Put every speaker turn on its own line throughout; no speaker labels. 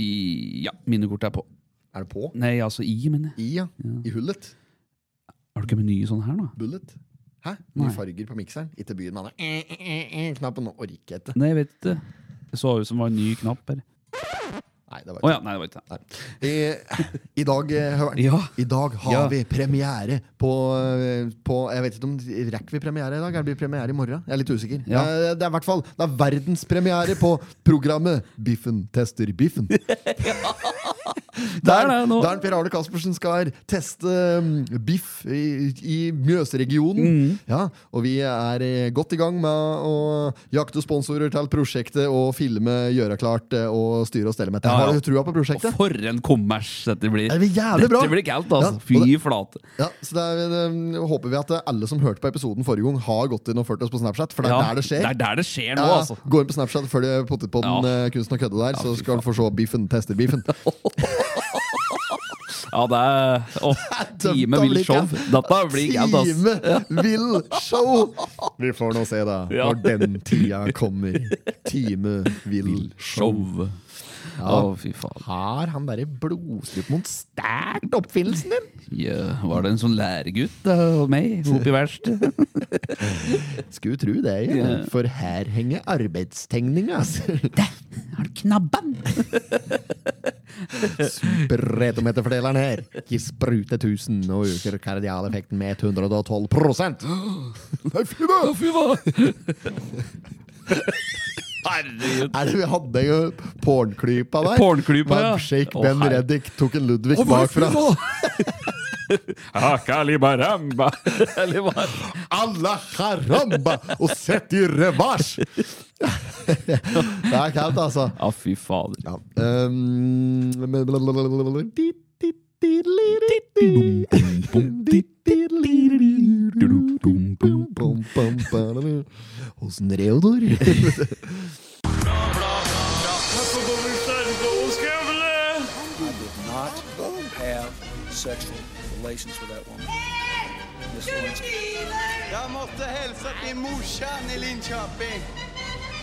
I, ja, minnekortet er på.
Er det på?
Nei, altså i, mener jeg.
I, ja. I hullet.
Har du ikke meny sånn her, da?
Bullet. Hæ? Nye
Nei.
farger på mikseren. Ikke byen eh, med den knappen. Orker jeg ikke.
Nei, jeg vet ikke. Det så ut som det var en ny knapp. Eller?
Nei, det var
Å ja, nei, det var ikke det.
Nei. I, I dag, eh, Høveren.
Ja.
I dag har
Ja.
vi premiere på, eh, på Jeg vet ikke om rekker vi premiere i dag? Eller blir det premiere i morgen? Jeg er litt usikker.
Ja.
Eh, Det er i hvert fall Det er verdenspremiere på programmet Biffen tester biffen. Der,
er det nå.
der Per Arne Caspersen skal teste mm, biff i, i Mjøsregionen.
Mm.
Ja, og vi er eh, godt i gang med å jakte sponsorer til prosjektet og filme, gjøre klart eh, og styre og stelle med det.
Ja, ja.
Har du trua på
Og
prosjektet?
for en kommers dette blir.
Det blir jævlig bra!
Dette blir kaldt, altså.
Ja, og
Fy flate.
Ja, så det er, eh, håper vi at eh, alle som hørte på episoden forrige gang, har gått inn og fulgt oss på Snapchat, for det er
Ja,
der det skjer.
Det er der det skjer nå,
Ja,
altså.
Gå inn på Snapchat før du potter på den
Ja.
eh, kunsten og kødde der, så
fy
skal du få se biffen tester biffen.
Ja, det er åh, Time
Dette
vil
blir
show.
galt.
Dette blir galt, ass.
Time vil show! Vi får nå se, da,
Ja.
når den tida kommer. Time vil show.
Show. Å, fy faen.
Har han derre blodstrupen stært oppfinnelsen din?
Ja, var det en sånn læregutt av meg oppi verkstedet?
Skulle tro det, ja.
Ja.
For her henger arbeidstegninga, altså.
Har du knabben?
Spretometerfordeleren her gir sprute 1000 og øker kardialeffekten med 112 Nei, fy da!
Å, fy faen! Herregud.
Er det vi hadde jo pornklypa der?
Pornklypa, ja.
Handshake,
Å,
Ben
her-
Reddik tok en Ludvig bakfra.
Hakalibaramba. Eller hva?
Alla caramba! Og sett i revers! det er kaldt, altså.
Ja, fy fader.
Ja. Um, Åssen Reodor?
not have sexual relations with that woman. Miss Lewinsky.
Jeg måtte hilse til morsan i Linköping.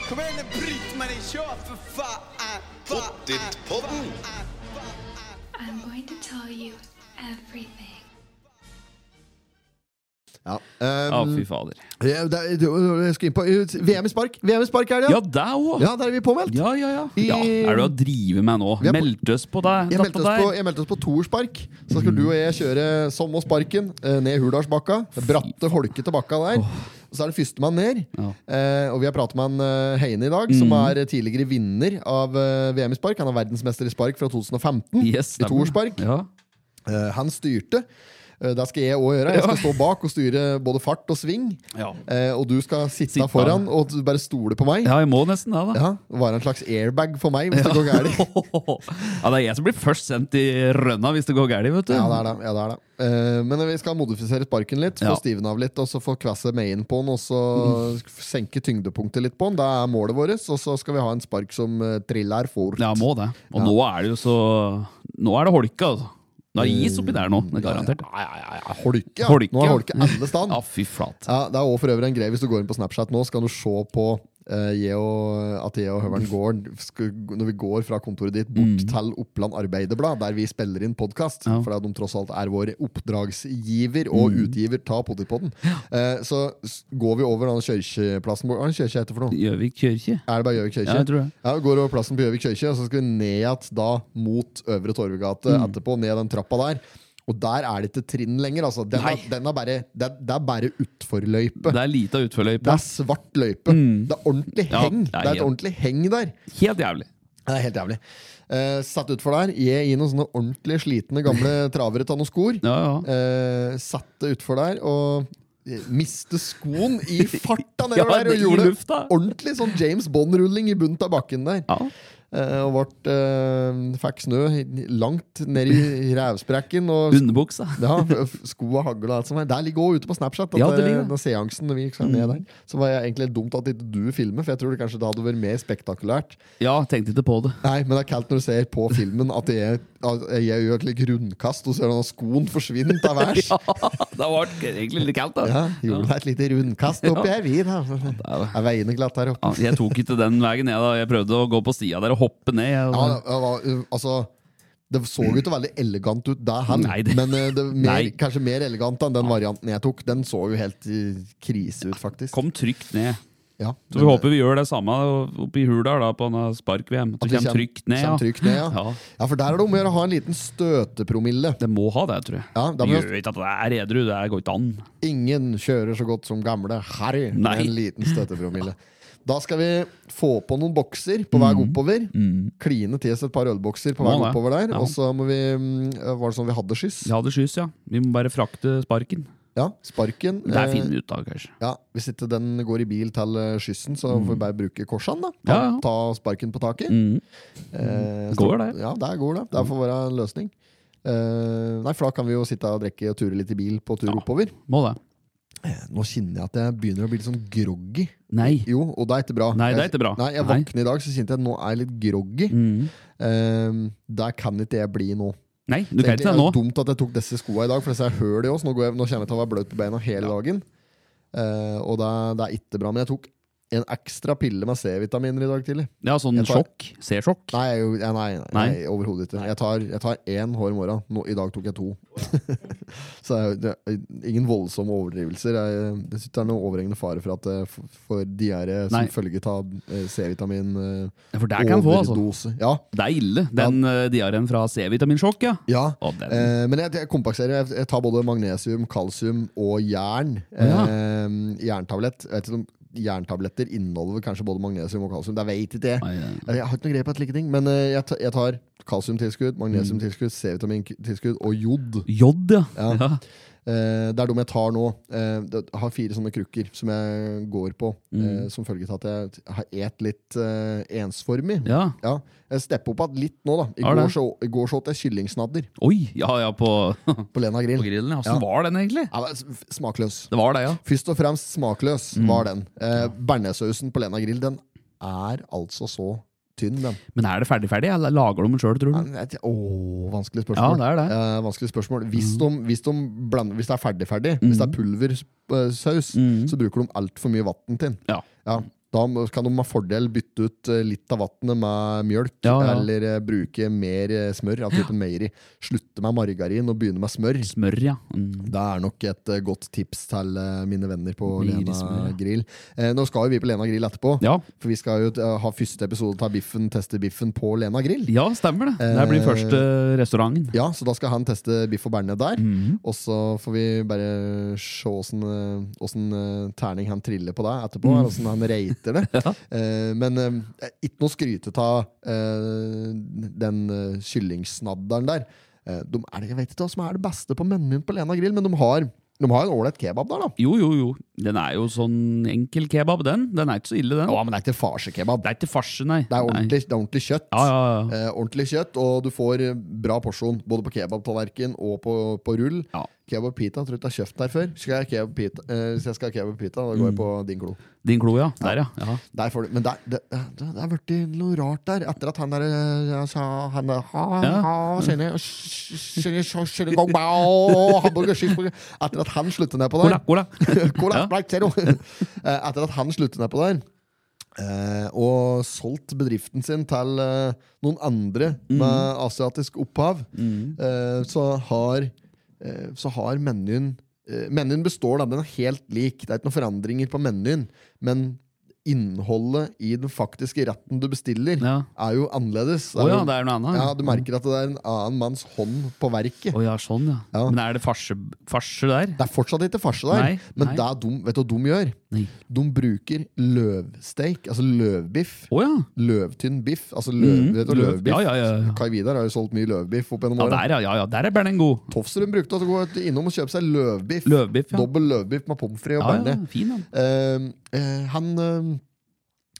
Kom igjen, Britt-Marie, kjør, for faen! Pottit-podden!
I'm going to tell you everything.
Ja.
Ja,
Um,
fy fader.
jeg, jeg, jeg skal inn på VM i spark. VM i spark er det,
Ja,
ja!
deg òg.
Ja, der er vi påmeldt.
Ja, ja, ja. ja. Er det å drive med nå?
Vi er på-
Meldte oss på deg?
Jeg meldte,
datt
oss på, jeg meldte oss på toerspark. Så skal du og jeg kjøre som og sparken eh, ned Hurdalsbakka. Bratte, holkete bakka der. Og så er det førstemann ned.
Ja. Mm.
Eh, og vi har pratet med han eh, Heine i dag, som er tidligere vinner av eh, VM i spark. Han er verdensmester i spark fra 2015.
Yes,
I
stemmer.
toerspark.
Ja.
Eh, han styrte. Eh, det skal jeg òg gjøre. Jeg skal stå bak og styre både fart og sving.
Ja.
Eh, og du skal sitte,
Sitte.
foran og bare stole på meg. Ja.
ja, jeg må nesten det, da.
Være en slags airbag for meg hvis det går gærent.
Ja, det er jeg som blir først sendt i rønna hvis det går galt, vet du.
Ja, det er det. Ja, det, er det. Eh, men vi skal modifisere sparken litt, få
Ja. Mhm.
stivne av litt, og så få kvesse med inn på den, og så senke tyngdepunktet litt på den. Det er målet vårt. Og så skal vi ha en spark som eh, triller fort.
Ja, må det. Og
Ja.
nå er det jo så Nå er det holke, altså. Nå er is oppi der nå, det er garantert.
Mm. Ja, ja, ja, ja. Holke, ja.
Holke.
Nå har holke alle stand.
Ja,
ja.
fy flate.
det er også for øvrig en greie hvis du går inn på Snapchat nå, så kan du se på eh, jeg og, at jeg og Høveren går skal, når vi går fra kontoret ditt bort til Oppland Arbeiderblad, der vi spiller inn podkast.
Mm. Ja. Mm.
For det er de tross alt er vår oppdragsgiver og utgiver ta Potipodden. Eh, så s- går vi over den kirkeplassen Hva er det kirke heter for noe?
Gjøvik kirke?
Er det bare Gjøvik kirke?
Ja, jeg tror det.
Ja, vi går over plassen på Gjøvik kirke, og så skal vi ned igjen da mot Øvre Torvegate
Mm.
etterpå, ned den trappa der. Og der er det ikke trinn lenger, altså. Den
Nei.
er, den er bare, det, er- det er bare utforløype.
Det er lita
Det
utforløype.
er svart løype. Det er ordentlig
Ja,
heng.
det er
det er et
helt-
ordentlig heng der.
Helt jævlig.
Det er helt jævlig. Eh, satt utfor der. Jeg i noen sånne ordentlig slitne gamle travere av noen skor.
Ja, ja.
Eh, satt det utfor der og miste skoen i farta
Ja,
nedover der
i
og gjorde
lufta.
ordentlig sånn James Bond-rulling i bunnen av bakken der.
ja.
Eh, og vart, eh, fikk snø langt ned i rævsprekken. Og
Underbuksa.
ja, f- skoa hagla og alt som er. Der ligger òg ute på Snapchat. At,
Ja, det ligger Mm. det.
eh, den seansen når vi skal ned der Så var jeg egentlig dumt at ikke du filmer, for jeg tror det kanskje det hadde vært mer spektakulært.
Ja, tenkte ikke på det.
Nei, men det er kaldt når du ser på filmen at jeg, at jeg gjør et litt rundkast, og så ser du at skoen forsvinner av værs.
Ja, det var egentlig litt kaldt, da.
Ja, gjorde deg et lite rundkast oppi her, vi, da.
det.
Er veiene glatt her oppe?
Ja, jeg tok ikke den veien, jeg, da. Jeg prøvde å gå på sida der og hoppe ned.
Ja,
Og,
det var, uh, altså det så jo ikke veldig elegant ut, der hen.
Nei, det-
men uh, det, mer,
Nei.
kanskje mer elegant enn den varianten jeg tok. Den så jo helt uh, krise ut, faktisk.
Kom trygt ned.
Ja,
Så vi
men-
håper vi gjør det samme oppe i Hurdal da, på denne spark-VM. At
At
vi
vi
kommer
kjem-
trygt ned.
kjem trygt ned, ja.
ja.
ja, for der er det om å gjøre å ha en liten støtepromille.
Det må ha det, tror jeg.
Ja, da
det
må-
gjør ikke at det er edru. Det går ikke an.
Ingen kjører så godt som gamle Harry med
Nei.
en liten støttepromille. Da skal vi få på noen bokser på vei oppover. Kline til oss et par ølbokser på vei
Mm. Må det.
oppover der.
Ja.
Og så må vi mm, Var det sånn vi hadde skyss?
Vi hadde skyss, ja. Vi må bare frakte sparken.
Ja, sparken.
Det
eh,
finner vi ut av, kanskje.
Ja, Hvis ikke den går i bil til eh, skyssen, så får vi bare bruke korsene. da Ta,
Mm. Ja, ja.
ta sparken på taket.
Mm.
Eh,
Går
så-
det.
Ja, det går det. Det får være en løsning. Eh, nei, for da kan vi jo sitte og drikke og ture litt i bil på tur
Ja.
oppover. Eh,
Må det.
Nå kjenner jeg at jeg begynner å bli litt sånn groggy.
Nei.
Jo, og det er ikke bra.
Nei, det er
Jeg-
ikke bra.
Nei, Jeg
Nei.
våkner i dag, så kjente jeg at nå er jeg litt groggy.
Mm.
Eh, der kan ikke jeg bli nå.
Nei, du kan ikke
Egentlig er
det nå.
det dumt at jeg tok disse skoene i dag, for disse er høl i oss. Nå, går jeg, nå kommer jeg til å være bløt på beina hele dagen. Eh, og det, er- det er ikke bra. Men jeg tok en ekstra pille med C-vitaminer i dag tidlig.
Ja, sånn
Jeg tar-
sjokk. C-sjokk.
Nei, jeg, gjorde- ja, nei, nei,
Nei?
nei overhodet ikke. Jeg tar, jeg tar én hver morgen. Nå, I dag tok jeg to. Så det er, jo- det er ingen voldsomme overdrivelser. Jeg, jeg synes det er noen overhengende fare for at jeg f- får diaré som
Nei.
følge av eh, C-vitamin-overdose.
Ja, For det kan få, altså.
Ja,
Det er ille, den eh, diareen fra C-vitaminsjokk, ja.
ja.
Å, den.
Eh, men jeg, jeg kompenserer. Jeg, jeg tar både magnesium, kalsium og jern.
Ja.
Eh, jerntablett. Jeg vet ikke om jerntabletter inneholder kanskje både magnesium og kalsium. Det vet ikke jeg.
Nei, det-
Jeg har ikke noe greie på et like ting, men eh, jeg, ta, jeg tar kalsiumtilskudd,
Mm.
magnesiumtilskudd, C-vitamintilskudd og jod.
Jod, ja.
Ja.
ja.
Eh, det er de jeg tar nå. Eh, det- jeg har fire sånne krukker som jeg går på,
Mm.
eh, som følge av at jeg har et litt eh, ensformig.
ja.
Ja, Jeg stepper opp igjen litt nå, da. I
Har
går,
det.
så, I går så åt jeg kyllingsnadder
Oi! Ja, ja, på, på
på Lena Grill.
grillen. ja. Åssen
Ja.
var den, egentlig?
Ja, men s- smakløs.
Det var det, ja.
Først og fremst smakløs
Mm.
var den. Eh, Bearnéssausen på Lena Grill den er altså så tynn, den.
Men er det ferdig-ferdig, eller lager du den sjøl, tror du?
Men jeg tenker- Åh,
Ja,
vanskelig spørsmål.
det Mm. er det.
Eh, vanskelig spørsmål. Hvis, de, hvis, de blander, hvis det er ferdig-ferdig, hvis det
Mm.
er pulversaus, så bruker de altfor mye vann til den.
Ja.
Ja, da må- kan de med fordel bytte ut eh, litt av vannet med mjølk,
Ja, ja.
eller eh, bruke mer eh, smør. av typen meieri. Slutte med margarin og begynne med smør.
Smør, ja. Mm.
Det er nok et eh, godt tips til eh, mine venner på
Meieri
Lena
smør, ja.
Grill. Eh, nå skal jo vi på Lena Grill etterpå,
Ja.
for vi skal jo eh, ha første episode av Biffen teste biffen på Lena Grill.
ja, stemmer det. Det her blir
Eh,
første restauranten.
Ja, så da skal han teste biff og bearnés der.
Mm.
Og så får vi bare se åssen, eh, åssen eh, terning han triller på deg etterpå. eller Åssen han rater det. Eh, Men eh, ikke noe skryte av eh, den eh, kyllingsnadderen der. Eh, De er, det- jeg vet ikke hva som er det beste på menyen på Lena Grill, men de har, de har en ålreit kebab der, da.
Jo, jo, jo. Den er jo sånn enkel kebab, den. Den er ikke så ille, den.
Ja, men det er ikke farsekebab.
Det er ikke farse, nei.
Det er ordentlig, det er ordentlig kjøtt.
Nei. Ja, ja, ja.
Eh, ordentlig kjøtt, og du får eh, bra porsjon både på kebabtallerken og på, på rull.
Ja.
Kebab pita, tror du ikke jeg har kjøpt der før. Skal jeg ha kebab pita, eh, hvis jeg skal ha kebab pita, da går jeg på din klo.
Din klo, ja. Der, ja. ja.
Der får du, men der, det, det, det er blitt noe rart der, etter at han der eh, jeg sa han der, ha,
Ja.
ha, kjenner, kjenner, kjenner, kjenner, gong, bao, hamburger, cheeseburger. Etter at han slutter ned på der
Cola, cola.
Cola,
Ja.
Sprite Zero. Eh, Etter at han sluttet ned på der, eh, og solgt bedriften sin til eh, noen andre
Mm.
med asiatisk opphav, eh, så har, eh, så har menyen eh, Menyen består, da. Den er helt lik. Det er ikke noen forandringer på menyen. Men innholdet i den faktiske retten du bestiller,
Ja.
er jo annerledes.
Å ja,
jo-
det er noe annet.
ja, Du merker at det er en annen manns hånd på verket.
Å ja, sånn, ja.
Ja.
Men er det farse, farse der?
Det er fortsatt ikke farse der,
Nei,
men
nei.
Det er dum, vet du hva de gjør?
Nei.
De bruker løvsteik, altså løvbiff.
Å ja.
Løvtynn biff. Altså løv, vet du,
Mhm. løv.
løvbiff.
Ja, ja, ja, ja.
Kai Vidar har jo solgt mye løvbiff opp gjennom
Ja,
åra.
der, ja, ja, ja. Der er Bernen god.
Tofsrud brukte å gå ut- innom og kjøpe seg løvbiff.
Løvbiff, ja.
Dobbel løvbiff med pommes frites og
Ja,
bearnés.
ja, fin, ja.
Eh, eh, han, eh,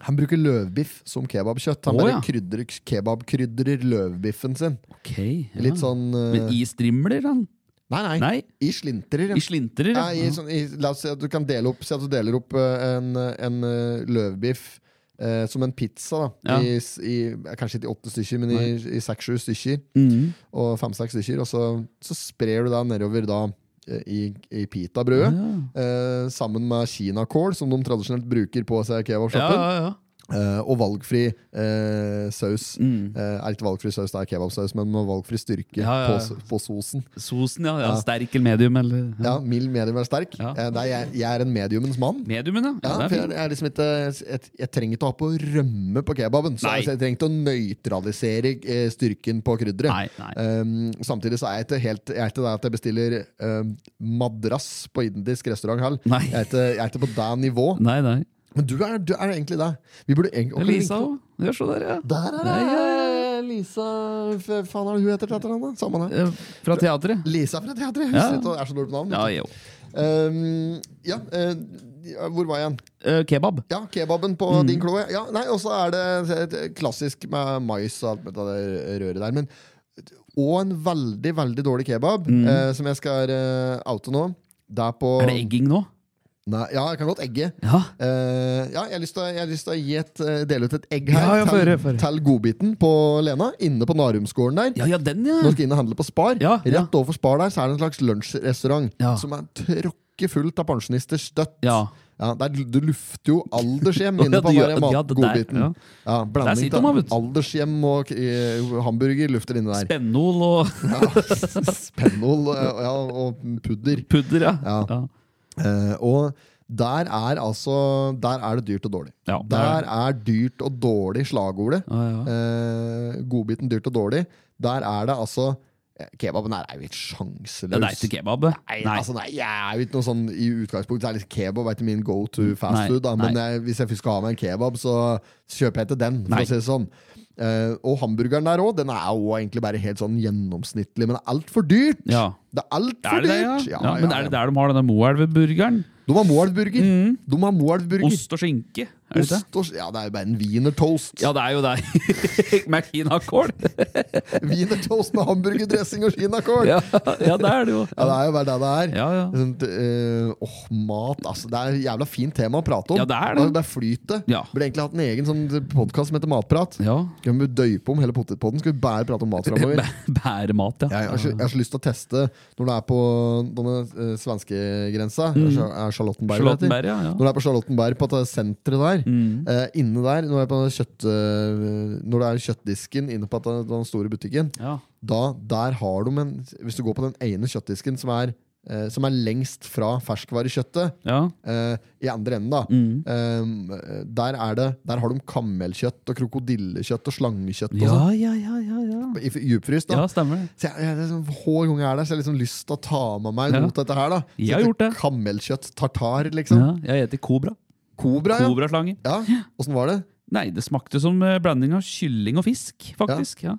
han bruker løvbiff som kebabkjøtt. Han
Å,
bare
ja.
krydrer, kebabkrydrer løvbiffen sin.
Ok. Ja.
Litt sånn eh,
Men i strimler, han?
Nei, nei.
Nei,
I slintrer.
i slintrer.
Ja, i,
Ja.
sånn, i, la oss si at du kan dele opp Si at du deler opp eh, en, en eh, løvbiff eh, som en pizza. da
Ja.
I, s- i, eh, Kanskje ikke i åtte stykker, men i, i seks-sju stykker.
Mhm.
Og fem-seks stykker Og så, så sprer du det nedover da eh, i, i pitabrødet. Eh, sammen med kinakål, som de tradisjonelt bruker på seg i
Ja,
kebabshoppen.
ja, ja.
Eh, og valgfri eh, saus. Eh, er ikke valgfri saus, det er kebabsaus, men med valgfri styrke
Mm. Ja, ja, ja.
På, s- på sosen.
Sosen, ja. ja. Sterk eller medium, eller ja.
Ja, Mild medium er sterk.
Ja.
Eh, det er, jeg, jeg er en mediumens mann.
Mediumen, ja.
Ja,
ja, det er
for jeg,
fint.
jeg, er liksom ikke, jeg, jeg trenger ikke å ha på rømme på kebaben. Så altså,
Nei.
jeg, jeg trenger ikke å nøytralisere eh, styrken på krydderet.
Nei, nei.
Um, samtidig så er jeg ikke helt Jeg er ikke der at jeg bestiller um, madrass på indisk restaurant. Hal.
Nei.
Jeg, er ikke, jeg er ikke på det nivå.
Nei, nei.
Men du er, du er egentlig det. Vi burde egentlig og
Lisa
egentlig-
òg. Gjør så der, ja.
Der er det! Lisa Hva faen er det hun heter? til etternavn, da? Samme det.
Eh, Fra teatret.
Lisa fra teatret. Jeg
Ja.
husker ikke, jeg er så dårlig på navn.
Ja, jeg òg.
Um, ja, eh, hvor var jeg igjen?
Eh, Kebab.
Ja, kebaben på
Mm.
din kloe. Ja, nei, og så er det et klassisk med mais og alt med det der røret der. Men, og en veldig, veldig dårlig kebab, eh, som jeg skal eh, oute nå. Det er på
Mm. Er det egging nå?
Nei, ja, jeg kan godt egge.
Ja.
Eh, ja, jeg har lyst til å- jeg har lyst til å gi et, eh, dele ut et egg her
Ja, ja, få høre, få
til,
høre.
til godbiten på Lena, inne på Narumsgården der.
Ja, ja, den, ja.
Når du skal inn og handle på Spar,
Ja,
rett
ja.
overfor Spar der, så er det en slags lunsjrestaurant
Ja.
som er tråkkefullt av pensjonister støtt.
Ja.
Ja, der, du lufter jo aldershjem inne
Ja,
på
du
den der
gjør- ja, det der,
matgodbiten. Ja,
ja. Der
blanding
sitter man, vet
av
du.
aldershjem og eh, hamburger lufter inne der.
Spennol og
Ja. Spennol eh, ja, og pudder.
pudder, ja.
Ja.
Ja.
Eh, og der er altså Der er det dyrt og dårlig.
Ja, det er
der er dyrt og dårlig slagordet.
Ja, ja.
Eh, godbiten dyrt og dårlig. Der er det altså eh, Kebaben her er jo helt sjanseløs.
Ja, Det er ikke kebab.
Nei,
Nei.
Altså, nei, jeg er jo ikke noe sånn i utgangspunktet. Det er litt kebab er ikke min go to fast
Nei,
food. Da. Men
nei.
jeg, hvis jeg først skal ha meg en kebab, så kjøper jeg ikke den. For
Nei.
å si det sånn. Eh, og hamburgeren der òg, den er jo egentlig bare helt sånn gjennomsnittlig. Men det er altfor dyrt!
Ja.
Det er altfor
Er det det, ja?
dyrt!
ja, men er det der de har denne Moelv-burgeren?
De har Moelv-burger. De har Moelv-burger.
Ost og skinke? Er det det?
Ost og Ja, det er jo bare en wienertoast.
Ja, det er jo det. Mackinakål.
Wienertoast med hamburgerdressing og kinakål!
Ja, ja, det er det jo.
Ja, det er jo bare det det er.
Ja, ja.
Sånt, eh, åh, mat, altså. Det er et jævla fint tema å prate om.
Ja, det er det.
Det er flytet.
Ja.
Burde egentlig hatt en egen sånn podkast som heter Matprat.
Ja.
Kan vi døype om hele potetpodden? Skal vi bare prate om mat framover?
Bæ- Bæremat, ja.
Jeg har, så, jeg har så lyst til å teste når du er på denne eh, svenskegrensa. Er Charlottenberg, det heter?
Mm. Charlottenberg, Mm. ja, ja.
Når du er på Charlottenberg, på det senteret der, eh, inne der, når, du er på den kjøtt, eh, når det er kjøttdisken inne på den- den store butikken,
ja.
da, der har de en Hvis du går på den ene kjøttdisken som er, eh, som er lengst fra ferskvarekjøttet,
ja.
eh, i andre enden, da,
Mm.
eh, der, er det, der har de kammelkjøtt og krokodillekjøtt og slangekjøtt og
Ja,
sånn.
ja, ja, ja, ja.
I djupfryst, da.
Ja, stemmer det.
Så jeg, jeg, liksom, hver gang jeg er der, så har jeg liksom lyst til å ta med meg
Ja.
noe til dette her. da
Jeg har gjort det.
Kammelkjøtt tartar, liksom.
Ja, jeg heter Kobra.
Kobra, ja.
Kobraslange.
ja. Åssen var det?
Nei, det smakte som eh, blanding av kylling og fisk, faktisk. Ja,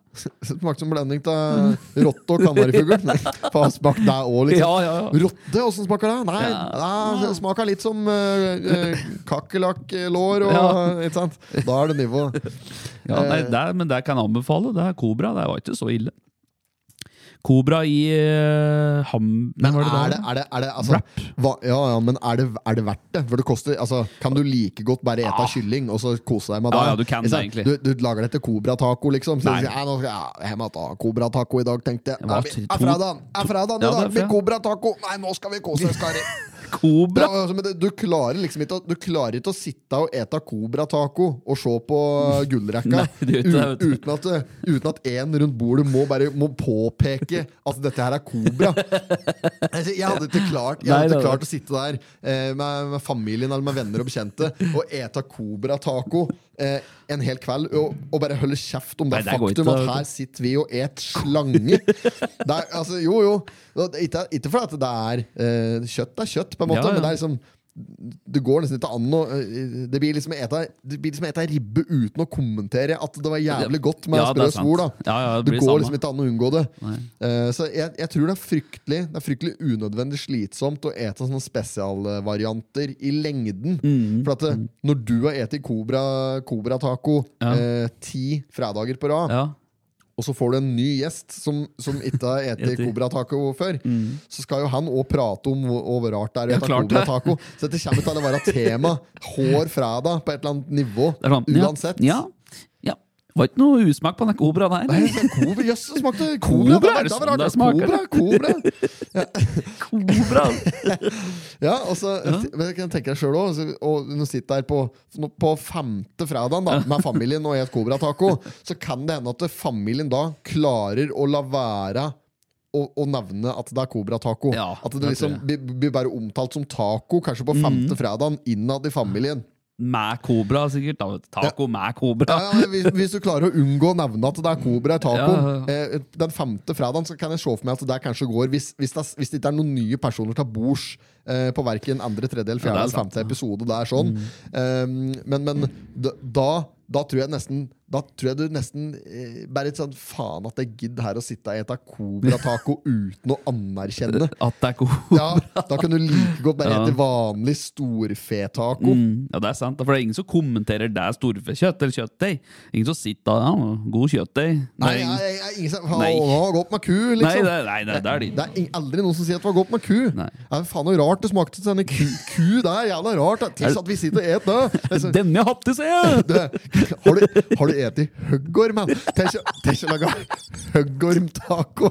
Smakte som blanding av rotte og kanarifugl. Faen, smakte det òg, liksom.
ja, ja. ja.
Rotte, åssen smaker det? Nei,
Ja.
det smaker litt som uh, kakerlakklår og
Ja.
Ikke sant? Da er det nivå.
ja nei,
Eh.
det, er- men det kan jeg anbefale. Det er Kobra. Det var ikke så ille. Kobra i eh, ham... Nei,
Men
var
er
det der?
det, er det, er det altså,
Wrap.
hva, ja, ja, men er det, er det verdt det? For det koster, altså, kan du like godt bare ete kylling og så kose deg med det?
Ah. Ja, ja, du kan det
Ikke sant?
egentlig.
Du, du lager det til cobrataco, liksom. Så
Nei.
sier jeg, nå skal jeg hjem og ta cobrataco i dag, tenkte jeg.
Det var
Nei, vi-
to-
Er fredagen! Er fredagen i
Ja, det
dag!
er
Vi
fredag.
cobrataco! Nei, nå skal vi kose oss, karer!
Kobra!
Ja, altså, men det- du klarer liksom ikke å, Du klarer ikke å sitte og ete cobrataco og se på gullrekka
Nei, det gjør ikke det, vet du.
u- uten, at, det- uten at en rundt bordet må, bare, må påpeke at dette her er cobra. Altså, jeg hadde ikke klart, jeg
Nei,
hadde
det var-
ikke klart å sitte der eh, med, med familien eller med venner og bekjente og ete cobrataco eh, en hel kveld og, og bare holde kjeft om det
Nei, det går ikke,
faktum at
vet du.
her sitter vi og et slange. Det er, altså, jo, jo. Det er Ikke, ikke fordi at det er eh, kjøtt er kjøtt, på en måte,
Ja, ja.
men det er liksom det går nesten ikke an å eh, Det blir liksom eta, det blir liksom eta ribbe uten å kommentere at det var jævlig godt med
Ja, det er
sprø
sant.
svor. da
Ja, ja, det
Det
blir
går
samme.
liksom ikke an å unngå det. Eh, så jeg, jeg tror det er fryktelig Det er fryktelig unødvendig slitsomt å ete sånne spesialvarianter i lengden.
Mm.
For at det, når du har spist Cobra Cobra Taco
Ja.
eh, ti fredager på rad,
Ja.
og så får du en ny gjest som, som ikke har spist
Etter.
Cobra Taco før, så skal jo han òg prate om hvor, og hvor rart det er å
Mm. Ja,
ete
klart
Cobra
det.
Taco. Så dette kommer til å være tema hår fredag på et eller annet nivå.
Det er sånn, ja,
Uansett.
Ja. ja. Var ikke noe usmak på den kobraen
Nei,
her.
men Kobra, jøss, det smakte kobra!
Kobra, er det
Det
sånn
var
det
rart.
smaker?
Kobra, kobra.
Kobra!
Ja, og så men jeg kan tenke deg sjøl òg. Og når du sitter der på, nå- på femte fredagen da, med familien og et cobrataco, så kan det hende at familien da klarer å la være å, å nevne at det er cobrataco.
Ja,
at
det
det liksom
tror
blir blir bare omtalt som taco, kanskje på femte fredagen innad i familien.
Med kobra, sikkert. da. Taco med kobra.
Ja, ja, men hvis, hvis du klarer å unngå å nevne at det er kobra i tacoen eh, Den femte fredagen så kan jeg se for meg at det kanskje går hvis, hvis, det, er- hvis det ikke er noen nye personer til bords eh, på verken andre, tredje, eller
Ja,
fjerde
det er
eller femte episode. Det er sånn. Eh, men men d- da, da tror jeg nesten da tror jeg du nesten eh, bare et sånn faen at jeg gidder her å sitte og ete cobrataco uten å anerkjenne.
At det er kobra.
Ja, Da kan du like godt bare
Ja.
hete vanlig storfetaco.
Mm, ja, det er sant. For det er ingen som kommenterer det er storfekjøtt eller kjøttdeig. Ingen som sitter der ja, god kjøttdeig. Det er
Nei,
ingen-
jeg, jeg, jeg, ingen som
Nei.
Å, nå har gått med ku, liksom.
Nei, det, nei, det, det er de.
Det er ing- aldri noen som sier at det var godt med ku.
Nei.
Det er faen noe rart det smakte til denne ku. ku det er jævla rart. Det. Tiss at vi sitter og et det. Liksom,
Denne hatten, ser jeg!
det. Har du, har du et i høggorm, mann? Tenk å- tenk å lage høggormtaco.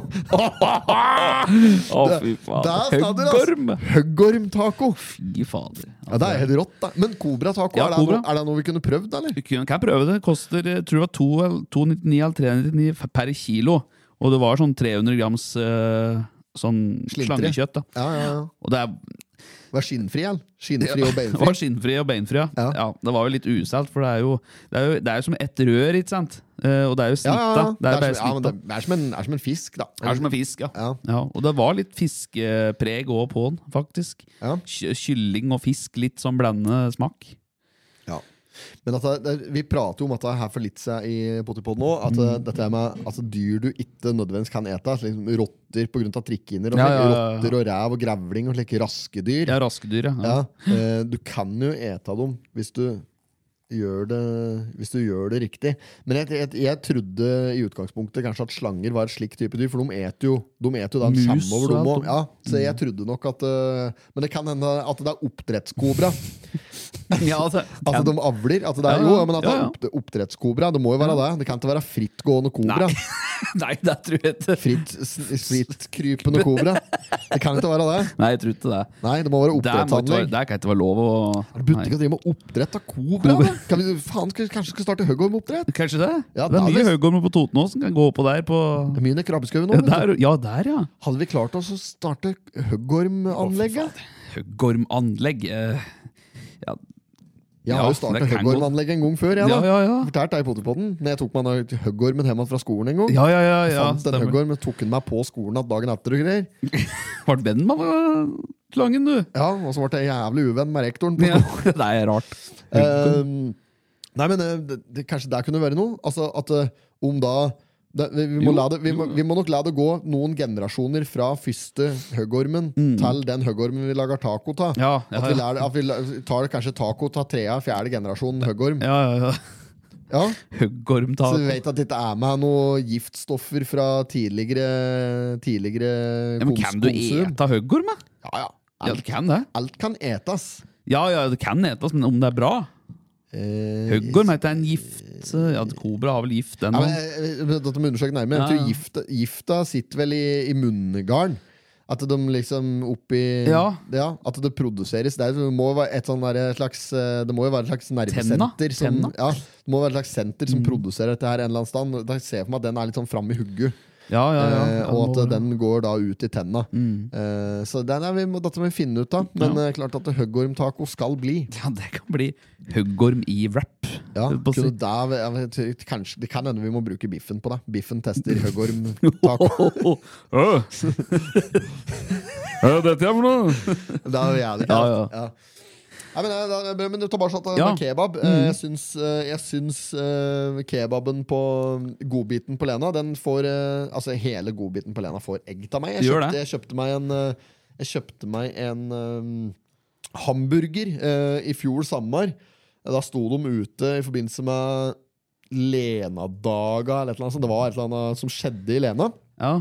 Å, fy
Der
faen.
skal du, ass.
Høggorm!
Høggormtaco.
Fy fader.
Ja, det er helt rått, da. Men cobrataco,
Ja,
er, det
kobra.
noe- er det noe vi kunne prøvd, eller?
Du kan kan prøve det. Koster eh, tror jeg det var to eller- 2,99 eller 3,99 f- per kilo. Og det var sånn 300 grams eh, sånn
Slintre.
slangekjøtt. da.
Ja, ja, ja.
Og det er,
Vær skinnfri, eller? Skinnfri
det
og
var
beinfri.
skinnfri og beinfri. Ja.
Ja.
Ja, det var jo litt uselt, for det er jo, det er jo, det er jo som ett rør, ikke sant? Eh, Og det er jo
Ja,
snitta.
ja, ja.
Det er bare
som- ja, men
snitta.
det det er som en- er som en fisk, da.
Det er som en fisk, ja.
Ja.
ja. Og det var litt fiskepreg òg på den, faktisk.
Ja.
Ky- Kylling og fisk, litt sånn blandende smak.
Ja. Men at det, det, vi prater jo om at det er her for litt seg i Potipod nå, at eh, dette er med altså, dyr du ikke nødvendigvis kan ete, altså, liksom rotter på grunn av trikkhinner, og
Ja,
slik,
ja, ja, ja.
rotter og rev og grevling og slike raske dyr.
Ja, raskedyr, ja.
Ja, eh, du kan jo ete dem hvis du gjør det, hvis du gjør det riktig. Men jeg, jeg, jeg trodde i utgangspunktet kanskje at slanger var et slik type dyr, for de eter jo de eter jo da en
Mus
skjem over
og Mm.
dem
alt om.
også. Ja, så jeg trodde nok at eh, Men det kan hende at det er oppdrettskobra.
Ja, altså,
Altså, de avler. At det
Ja,
er,
ja.
jo, ja, men at det
Ja, ja.
er opp, oppdrettskobra. Det må jo være det. Det kan ikke være frittgående kobra.
Nei, det tror jeg ikke.
Fritt, s- Frittkrypende kobra. Det kan ikke være det.
Nei, jeg tror ikke det.
Nei, det må
Der, må
være
ikke være,
oppdrettsanlegg.
der kan ikke være lov å
Er det Butikk å drive med oppdrett av kobra? da? Kan vi, faen, skal, vi- kanskje skal starte Høgholm-oppdrett?
Kanskje det?
Ja,
det er
da
mye
hvis-
Høgholm på Totenåsen. Kan gå oppå der på
Det er mye ned i krabbeskauen
ja,
nå. vet du.
der, ja. der, ja.
Hadde vi klart oss å starte Høggormanlegget?
Høggormanlegg. eh,
Jeg
Ja,
har jo
det
startet
kan
Høggormanlegg en gang før. Jeg,
Ja,
da.
ja, ja.
Fortalt deg i Potipodden. Når jeg tok meg en høggormen hjemme fra skolen en gang.
Ja, ja, ja. ja.
Fant en
stemmer.
høggorm, tok den meg på skolen at dagen etter og greier.
Var det den man var eh, slangen, du?
Ja, og så ble jeg jævlig uvenn med rektoren. På
Ja.
skolen.
Det er rart.
Ehm, nei, men eh, det, det, kanskje der kunne være noe? Altså at eh, om da det, vi, vi, må
Jo,
la det, vi, må, vi må nok la det gå noen generasjoner fra første høggormen til den høggormen vi lager taco av.
Mm. Ja, ja,
At vi,
ja.
lær, at vi la- tar kanskje taco av tredje, fjerde generasjon høggorm.
Ja, ja, ja.
Ja. Så
Høggormtaco.
vi vet at det ikke er med noe giftstoffer fra tidligere, tidligere
Ja, men
kons-
kan du
konsum.
ete høggorm? da?
Ja, ja.
Ja, du
Alt,
kan det.
alt kan etes.
Ja, ja, det kan etes, men om det er bra?
Eh,
Høggorm heter en gift eh, Ja, Kobra har vel gift, den
Ja,
òg.
men, eh, eh, dette må undersøke nærmere.
Ja,
Jeg tror
ja.
gifta, gifta sitter vel i, i munngarn. At de liksom oppi
Ja.
At det produseres der. Det må jo være et sånn derre slags eh, Det må jo være et slags nervesenter
Tenna?
som,
Tenna? Mm.
ja, Det må være et slags senter som produserer dette her en eller annen stand. Da ser jeg for meg at den er litt sånn fram i hugget,
Ja, ja, ja.
eh,
ja, det Mm.
og
må
at
være.
den går da ut i tenna. Eh, så den er vi, må- dette må vi finne ut av. Men eh, klart at høggormtaco skal bli.
Ja, det kan bli høggorm i wrap.
Ja,
Det er på
kunne
si-
der, jeg vet, kanskje, det kan hende vi må bruke biffen på det. Biffen tester høggormtaco.
Hva er dette her for noe?
Det er jo jævlig
Ja,
kaldt. Ja. Nei, men, det er- det er- men tilbake til dette
Ja. Mm.
med kebab. Eh, Jeg syns, eh, jeg syns eh, kebaben på mm, godbiten på Lena Den får eh, Altså hele godbiten på Lena får egg av meg. Jeg
Gjør
kjøpte,
det.
jeg kjøpte meg en eh, Jeg kjøpte meg en eh, hamburger eh, i fjor sommer. Da sto de ute i forbindelse med Lena-daga eller et eller annet sånt. Det var et eller annet som skjedde i Lena.
Ja.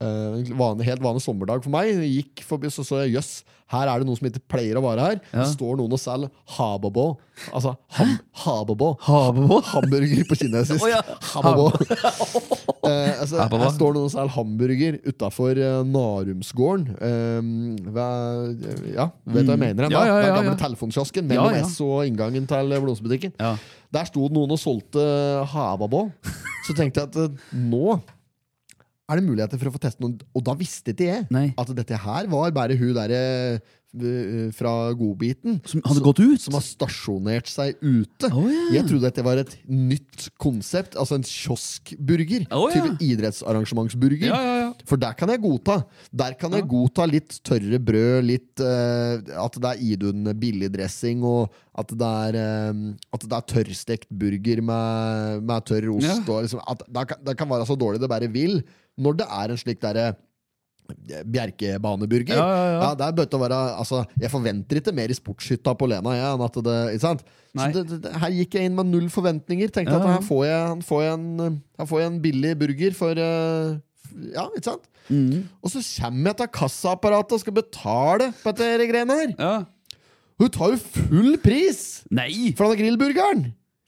eh, en vanlig, helt vanlig sommerdag for meg. Jeg gikk forbi, så så jeg jøss, her er det noen som ikke pleier å være her. Det står noen og selger hababo. Altså ham, hababo.
Hababo?
Hamburger på kinesisk.
Å ja.
Hababo. Eh, altså,
Hababo.
her står noen og selger hamburger utafor Narumsgården. Eh, hva- ja, vet du hva jeg mener?
Mm.
hen,
Ja,
da?
ja, ja,
Den gamle
ja.
telefonkiosken
Ja,
mellom
ja.
S og inngangen til blomsterbutikken.
Ja.
Der sto det noen og solgte havabå. Så tenkte jeg at eh, nå er det muligheter for å få teste noen. Og da visste ikke jeg
Nei.
at dette her var bare hun derre eh, fra Godbiten.
Som hadde gått ut?
Som har stasjonert seg ute.
Å, ja.
Jeg trodde at det var et nytt konsept. Altså en kioskburger.
Å, ja.
Type idrettsarrangementsburger.
Ja, ja, ja.
For der kan jeg godta. Der kan jeg godta litt tørre brød, litt eh, at det er Idun billigdressing, og at det er, eh, at det er tørrstekt burger med, med tørr ost.
Ja.
Og liksom, at det, kan, det kan være så dårlig det bare vil, når det er en slik derre Bjerkebaneburger.
Ja, ja, ja.
det er bøtt å være, altså, jeg forventer ikke mer i sportshytta på Lena. Jeg, enn at det, ikke sant? Så
Nei.
det, det, det- her gikk jeg inn med null forventninger. Tenkte
Ja,
at
ja.
her får jeg, her får jeg, en, her får jeg en billig burger for eh, f- Ja, ikke sant?
Mm.
Og så kommer jeg til kassaapparatet og skal betale på dette her greiene her.
ja.
Hun tar jo full pris
Nei!
for denne grillburgeren!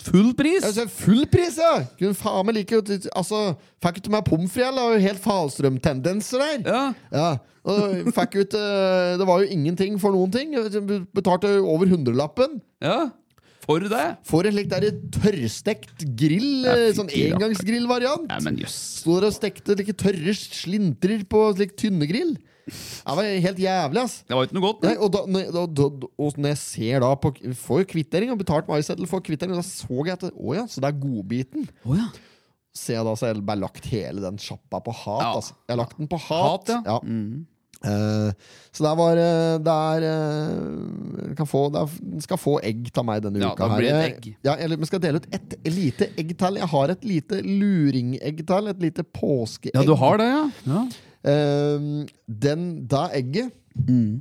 Full pris!
Jeg sa, full pris, ja! Kunne faen meg like godt Altså, Fikk ikke meg pommes frites, eller? Det var jo Helt Falstrøm-tendenser der.
Ja.
Ja, og fikk ut eh, Det var jo ingenting for noen ting. Betalte over hundrelappen.
ja. For det?
Får en slik der tørrstekt grill, eh,
Jeg fikk
sånn
ikke rakk.
engangsgrillvariant.
Nei, men jøss.
Sto der og stekte like tørre slintrer på slik tynne grill. Det var helt jævlig, ass.
Det var ikke noe godt.
Nei, og, da, når, da, da, og når jeg ser da på Får jo kvittering, og betalt med iSettle for kvittering, og da så jeg at det- Å ja, så det er godbiten.
Å, ja.
Ser jeg da, så har jeg bare lagt hele den sjappa på hat.
Ja.
Altså. Jeg har lagt den på hat.
Hat, ja. Mm.
Eh, så det var eh, Det er eh, den kan få, det er, den skal få egg av meg denne
Ja,
uka.
da
her
blir det
Jeg-
et egg.
Ja, eller, men skal dele ut et lite egg til. Jeg har et lite luringegg til. Et lite påskeegg.
ja, du har det, ja? ja.
Eh, den, det egget
Mm.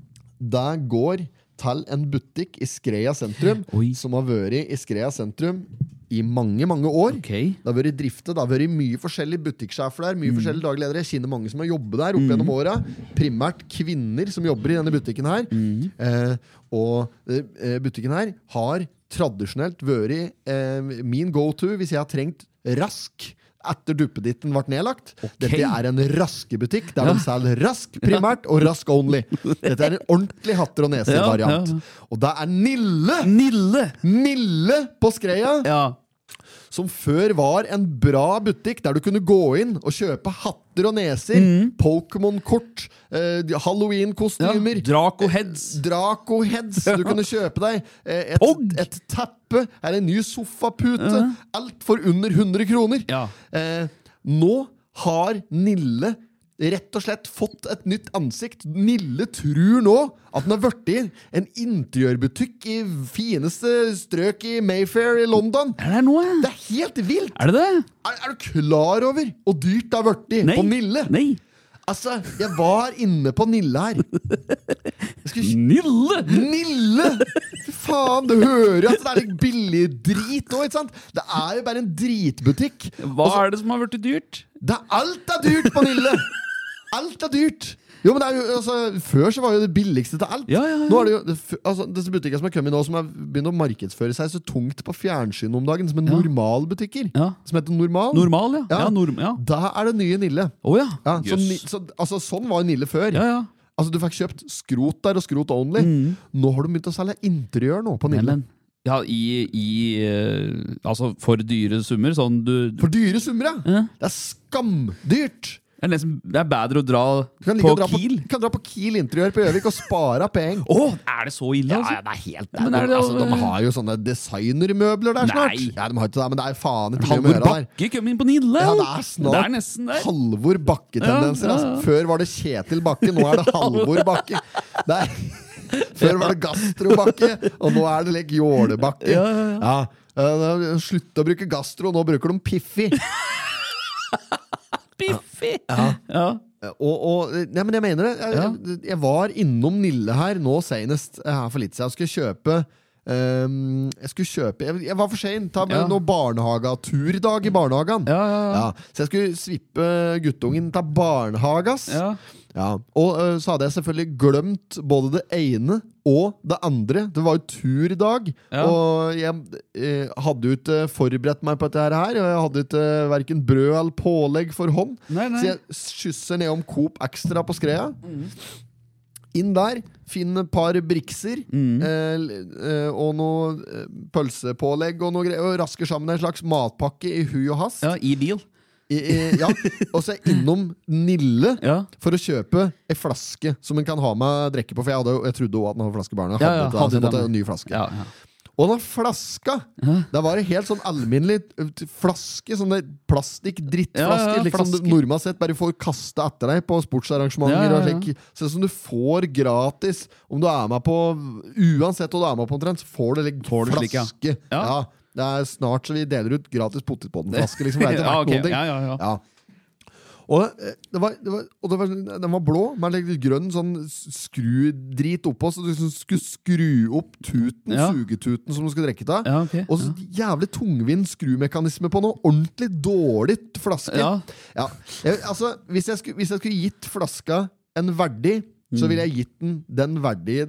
Det går til en butikk i Skreia sentrum
Oi.
som har vært i Skreia sentrum i mange, mange år.
Ok.
Det har vært driftet, det har vært mye forskjellige butikksjefer der.
Mm.
Mye forskjellige dagledere Jeg kjenner mange som har jobbet der opp gjennom åra. Primært kvinner som jobber i denne butikken her.
Mm.
Eh, og eh, butikken her har tradisjonelt vært eh, min go to hvis jeg har trengt rask. Etter duppeditten ble nedlagt. Dette er en raskebutikk der de selger rask primært og rask only. Dette er en ordentlig hatter og neser-variant.
Ja, ja,
Og det er Nille!
Nille!
Nille på Skreia!
Ja.
som før var en bra butikk der du kunne gå inn og kjøpe hatter og neser,
Mm.
Pokémon-kort, eh,
ja.
Halloween-kostymer,
Draco Heads.
Draco-heads du kunne kjøpe deg, eh, et,
Pog!
et teppe, eller en ny sofapute. Alt for under 100 kroner.
Ja.
Eh, nå har Nille rett og slett fått et nytt ansikt. Nille tror nå at den har blitt en interiørbutikk i fineste strøk i Mayfair i London.
Er det noe?
Det er helt vilt!
Er det det?
Er, er du klar over hvor dyrt det har blitt
Nei.
på Nille?
Nei.
Altså, jeg var inne på Nille her. Jeg skulle ikke-
Nille!
Nille! Fy faen, du hører jo at det er litt billig drit nå, ikke sant? Det er jo bare en dritbutikk.
Hva er det som har blitt dyrt?
Det er alt er dyrt på Nille! Alt er dyrt! Jo, men det er jo, altså, Før så var jo det billigste til alt.
Ja, ja, ja.
Nå er det jo, det f- altså, Disse butikkene som har kommet nå, som har begynt å markedsføre seg så tungt på fjernsynet om dagen, som er normalbutikker.
Ja.
Som heter Normal.
Normal, ja.
Ja.
Ja, norm, ja.
Da er det nye Nille.
Å ja.
Ja, så,
Jøss.
ni, så, altså, sånn var Nille før.
ja, ja.
Altså, Du fikk kjøpt skrot der og skrot only. Nå har de begynt å selge interiør nå på Nille.
Neimen. Ja, i, i eh, Altså, for dyre summer. Sånn du du-
For dyre summer, ja!
Ja.
Det er skamdyrt!
Det er, nesten, det er bedre å dra
Du
på
kan, like å dra
Kiel.
På, kan dra på Kiel interiør på Gjøvik og spare penger.
Å, er det så ille,
Ja,
altså?
ja, det er helt
Men er det-
altså, De har jo sånne designermøbler der snart.
Nei.
Ja, de har ikke det, men det er faen ikke mye å
Halvor
gjøre der.
Bakke kom inn på Nille!
Ja, det er snart
Det er nesten der.
Halvor
Ja, ja,
Bakke-tendenser.
ja.
Altså. Før var det Kjetil Bakke, nå er det Halvor Bakke. Det er, før var det Gastro Bakke, og nå er det like Jåle Bakke.
Ja, ja,
eh, Slutt å bruke Gastro, nå bruker de Piffi.
Biffi! Ja. Ja.
Og, og, nei, men jeg mener det. Jeg, jeg var innom Nille her nå senest eh, her for litt siden. Jeg skulle kjøpe ehm, Jeg skulle kjøpe Jeg, jeg var for sein. Ta med
Ja.
noe barnehageturdag i barnehagen.
Ja, ja, ja.
Ja, så jeg skulle svippe guttungen til barnehagas.
ja.
Ja. Og eh, så hadde jeg selvfølgelig glemt både det ene og det andre. Det var jo turdag,
Ja.
og jeg eh, hadde jo ikke forberedt meg på dette her. Og jeg hadde ikke verken brød eller pålegg for hånd.
Nei, nei. Mm.
Så jeg skysser nedom Coop Extra på skreia. Inn der, finn et par brikser
Mm.
eh, l- eh, og noe eh, pølsepålegg og noe greier. Og rasker sammen en slags matpakke i hui og hast.
ja, i bil.
I, i, ja. Og så er jeg innom Nille
Ja.
for å kjøpe ei flaske som en kan ha med drikke på. For jeg, hadde, jo- jeg trodde òg at den hadde flaske i barna. Jeg
Ja, ja,
hadde ikke det,
hadde
så jeg måtte
den.
ha en ny flaske.
Ja, ja.
Og den flaska! Det var en helt sånn alminnelig ø, t- flaske. sånn Sånne plastikkdrittflasker.
Ja, ja,
liksom du
flasker.
nordmann sett bare får kasta etter deg på sportsarrangementer.
Ja, ja, ja.
og slik. Sånn som du får gratis om du er med på Uansett hva du er med på, omtrent, så får du en
Får du
flaske.
slik, ja.
ja.
Ja.
Det er snart så vi deler ut gratis potetbåndflaske. Liksom. Det er ikke
Ja,
verdt
ok.
noen ting.
Ja, ja, ja.
Ja. Og, eh, det var, det var, og det var, den var blå, med litt grønn sånn s- skrudrit oppå, så du liksom skulle skru opp tuten,
Ja.
sugetuten som du skulle drikke av.
Ja, ok.
Og så jævlig tungvint skrumekanisme på noe ordentlig dårlig flaske.
Ja.
Ja. Jeg, altså, hvis jeg, skulle, hvis jeg skulle gitt flaska en verdi, så ville jeg gitt den den verdi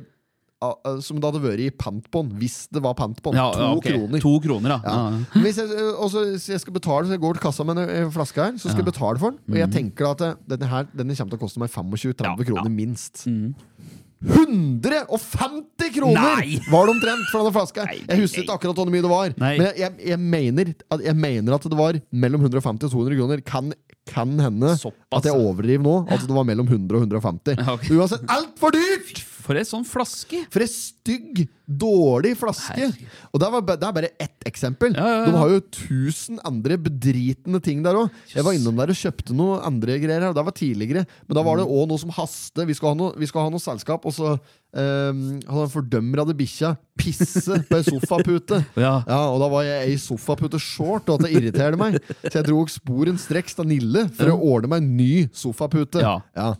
ah, ah, som det hadde vært i pant på den, hvis det var pant på den.
Ja,
to
ja, ok.
kroner.
To kroner, ja.
Ja.
ja. ja.
Men Hvis jeg, og så, så jeg skal betale, så jeg går til kassa med en en flaske her, så skal jeg betale for den. Og jeg tenker da at det- denne her denne kommer til å koste meg 25-30
Mm. Ja,
kroner
ja. Mm.
minst. 150 kroner
Nei!
var det omtrent for denne flaska! Jeg husker ikke akkurat hvor mye det var.
Nei.
Men jeg, jeg, jeg, mener at, jeg mener at det var mellom 150 og 200 kroner. Kan, kan hende
Såpass,
at jeg
ja.
overdriver nå. At det var mellom 100 og 150.
Ja, ok.
Uansett, altfor dyrt!
For ei sånn flaske!
For en stygg, dårlig flaske!
Herregud.
Og det er, bare, det er bare ett eksempel.
Ja, ja, ja.
De har jo tusen andre bedritne ting der òg. Jeg var innom der og kjøpte noe andre greier. her, og Det var tidligere. Men da var det òg noe som haste. Vi skal ha noe, vi skal ha noe selskap, og så um, hadde en fordømrede bikkja pisse på ei sofapute.
Ja.
og da var jeg ei sofapute short, og at det irriterte meg. Så jeg dro sporenstreks til Nille for å ordne meg en ny sofapute.
Ja.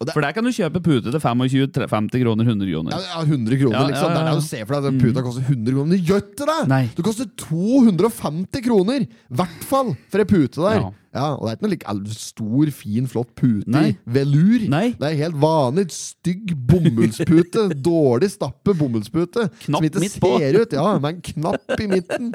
Og det
For der kan du kjøpe pute til 25, 50 kroner, 100
ja,
kroner.
ja, 100 kroner,
Ja, ja,
liksom.
ja,
Det er
ja.
det du ser for deg. Den puta koster 100 kroner. Men gjør ikke det!
Nei.
Det koster 250 kroner! I hvert fall for ei pute der. Ja.
Ja.
Og det er ikke noe like all- stor, fin, flott pute i
Nei.
velur.
Nei.
Det er helt vanlig stygg bomullspute. Dårlig stappe bomullspute.
Knapp
som ikke
midt på.
ser ut. Ja, med en knapp i midten.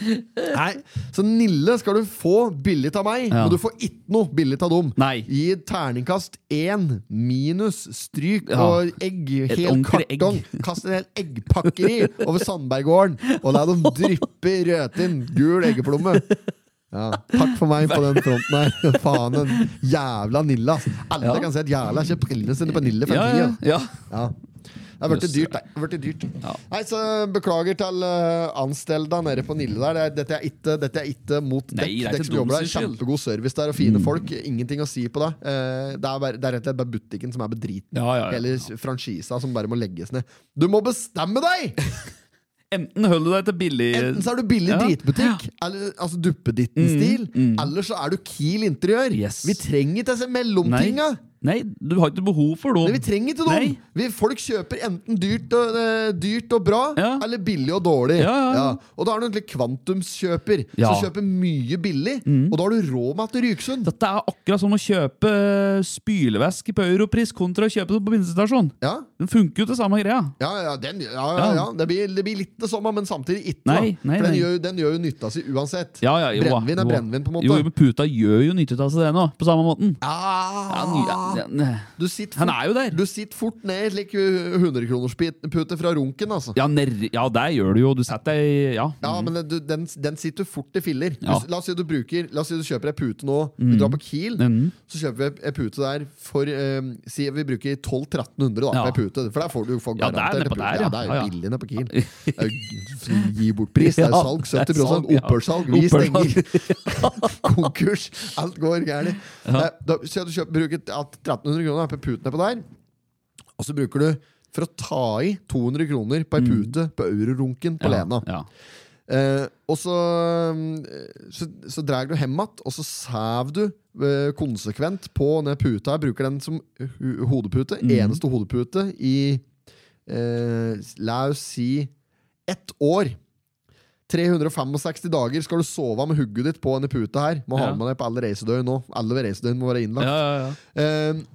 Nei, Så Nille skal du få billig av meg,
Ja.
men du får ikke noe billig av dem.
Nei.
Gi terningkast én minus stryk
Ja.
og egg
Et
hel
ordentlig
kartong. Kast en hel eggpakkeri over Sandberggården, og la dem dryppe i rødtinn. Gul eggeplomme. Ja, takk for meg på den fronten her. Faen, den jævla Nilla. ass. Alle
Ja.
kan si at jævla ikke brillene sine på Nille for
Ja,
tida.
ja, ja.
Ja. Det har blitt dyrt. Det har blitt dyrt.
Ja.
Nei, så beklager til uh, anstellda nede på Nille der. Det er- Dette er ikke, dette er ikke mot
Nei,
dekk.
det er
dekk
ikke
som jobber der.
deres skyld. Mm.
Kjempegod service der og fine folk. Ingenting å si på det. Eh, det, er bare, det er rett og slett bare butikken som er bedriten.
Ja, ja, ja.
Hele s- franchisa som bare må legges ned. Du må bestemme deg!
Enten holder du deg til billig
Enten så er du billig
Ja. Mm,
dritbutikk, eller, altså duppeditten-stil, eller så er du Kiel interiør.
Yes.
Vi trenger ikke disse
Nei.
mellomtinga!
Nei, du har ikke behov for
Nei,
dem.
vi trenger ikke dem!
Nei.
Vi, folk kjøper enten dyrt og, eh, dyrt og bra,
Ja.
eller billig og dårlig.
Ja, ja, ja.
Og da er du egentlig kvantumskjøper,
Ja. Mm.
som kjøper mye billig. Og da har du råd med til Ryksund.
Dette er akkurat som å kjøpe spylevæske på europris kontra å kjøpe det på bensinstasjon.
Ja.
Den funker jo til samme greia.
Ja, ja, den, ja, ja, ja. Det, blir, det blir litt det samme, men samtidig ikke. da.
Nei, nei,
For den
nei.
gjør, jo- den gjør jo nytta si uansett.
Ja, ja, jo, da,
brennevin er
jo.
brennevin, på en måte.
Jo, men puta gjør jo nytte av seg det nå, på samme måten. Ja, den-
Ah,
ja, den-
du sitter
Han
fort,
er jo der.
du sitter fort ned slik 100-kronerspute fra runken, altså.
Ja, nær- ja, der gjør du jo. Du setter deg Ja.
Ja, men det- du, den, den sitter fort i filler. Du-
Mhm. Ja. Mhm.
La, oss si du bruker, la oss si du kjøper ei pute nå. Vi drar på Kiel, så kjøper vi ei pute der for eh, Si vi bruker 1200-1300 da,
Ja.
på ei pute. For der får du folk
Ja, der
garantert
nede på
en pute.
der,
ja.
ja.
Det er
Ja,
jo
ja.
billig nede på Kiel. Det er jo Gi bort pris. Det er jo
Ja,
salg.
det er
70
salg, ja.
opphørssalg. Vi
Opphørssalg.
stenger. Konkurs. Alt går gærent. Nei, da- Si at du kjøper, bruker ja, 1300 kroner på ei pute nedpå der, og så bruker du for å ta i 200 kroner på ei pute på eurorunken på
Mm. ja,
Lena.
Ja.
Eh, og så, mm, så, så drar du hjem igjen, og så sæv du eh, konsekvent på den puta. Jeg bruker den som ho- hodepute. Eneste hodepute i eh, La oss si ett år. 365 dager skal du sove med hugget ditt på denne puta her. Må ha
Ja.
med deg på alle reisedøgn nå. Alle reisedøgn må være innlagt.
Ja, ja, ja.
Ehm,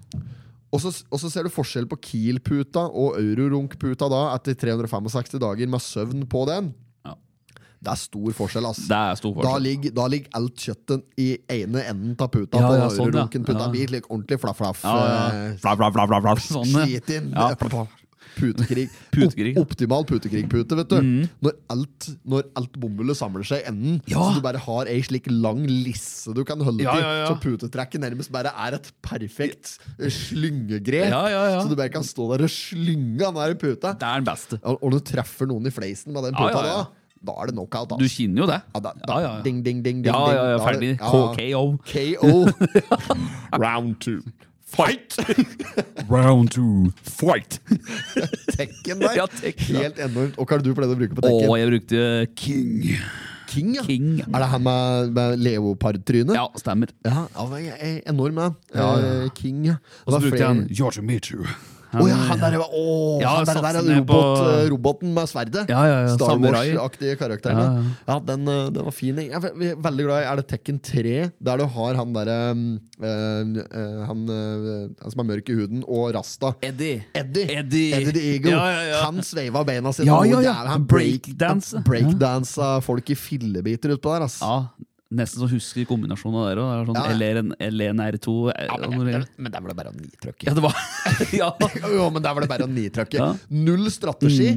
og så- og så ser du forskjell på Kiel-puta og Eurorunk-puta da etter 365 dager med søvn på den.
Ja.
Det er stor forskjell, ass.
Det er stor
Da
forskjell.
ligger, da ligger alt kjøttet i ene enden av puta.
Ja,
på
ja, sånn, ja.
Eurorunken-puta
Ja.
blir like ordentlig flaff-flaff.
Ja, ja.
eh,
Bla, bla, bla, bla, bla. Sånn, ja.
Skitin.
Ja.
Putekrig.
Putekrig. Mm.
Op optimal putekrig-pute, vet du. Når alt, når alt bombullet samler seg i enden,
Ja.
så du bare har ei slik lang lisse du kan holde
Ja,
til,
ja, ja.
så putetrekket nærmest bare er et perfekt eh, slyngegrep.
Ja, ja, ja.
Så du bare kan stå der og slynge den der puta.
Det er den beste.
Og og når du treffer noen i fleisen med den
Ja, ja,
puta,
ja.
da da er det knockout.
Du
Altså.
kjenner jo det.
Ja, da, da,
Ja, ja, ja.
Ding, ding, ding,
Ja,
ding,
ja, ja,
ding. Da er
ferdig.
det-
K- KO.
KO.
Round two. Fight! Round two. Fight!
Tekken der.
Ja, Tekken, ja.
Helt enormt. Og hva er det du pleide å bruke på
Å,
Tekken?
jeg brukte King.
King, ja.
King.
Er det han med, med leopardtrynet?
Ja, stemmer.
Ja, han var e- enorm, han.
Ja, ja,
Eh, King, ja.
Og så
Det var
brukte
flere-
han Yoshimitsu.
Å ja, han der, var- å,
Ja,
han der, der
satsen
er
ned på-
robot, eh, roboten med sverdet.
Ja, ja, ja,
Star
samurai.
Wars-aktige karakteren. Ja,
Ja, ja.
den, eh, den var fin. Jeg er ve- ve- veldig glad i Er det Tekken 3, der du har han derre han, eh, han som er mørk i huden, og Rasta.
Eddie.
Eddie.
Eddie.
the Eagle.
Ja, ja, ja.
Han sveiva beina sine.
Ja,
og
ja, ja.
der- Han
Breakdance.
breakdansa breakdansa folk i fillebiter utpå der, ass.
Ja, nesten så husker kombinasjonen av dere. og Det
Ja.
er sånn LNR2
Ja, men, det, men der var det bare å nitrykke.
Ja, det var Ja,
Jo, men der var det bare å nitrykke.
Ja. Mm.
Null strategi.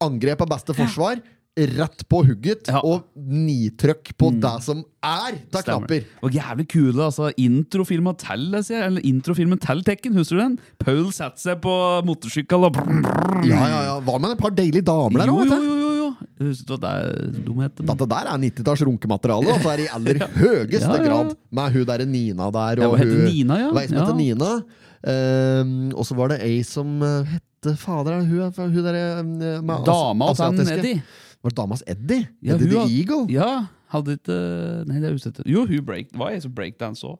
Angrep av beste forsvar. Rett på hugget,
Ja. Mm.
og nitrykk på det som er av knapper.
Og jævlig kule, altså. Introfilmen til, jeg sier. Eller introfilmen til Tekken, husker du den? Paul satte seg på motorsykkel og brr, brr.
Ja, ja, ja. Hva med et par deilige damer der
Jo, jo,
òg?
jo, jo, jo. Husker du at det er dumheten?
Dette der er 90-talls runkemateriale, og det er i aller høyeste
Ja, ja, ja.
grad. Med hun derre Nina der,
Ja,
og
hun heter Nina, ja.
Hva er det som
Ja.
heter Nina? Ehm, og så var det ei som eh, hette Fader, hun, er fra- hun derre eh, med as-
Dama og han
asiatiske.
Eddie.
Var det damas Eddie?
Ja,
Eddie
hun
the
har-
Eagle?
Ja, hadde ikke Nei, det er ute etter Jo, hun break, var jeg som breakdance òg.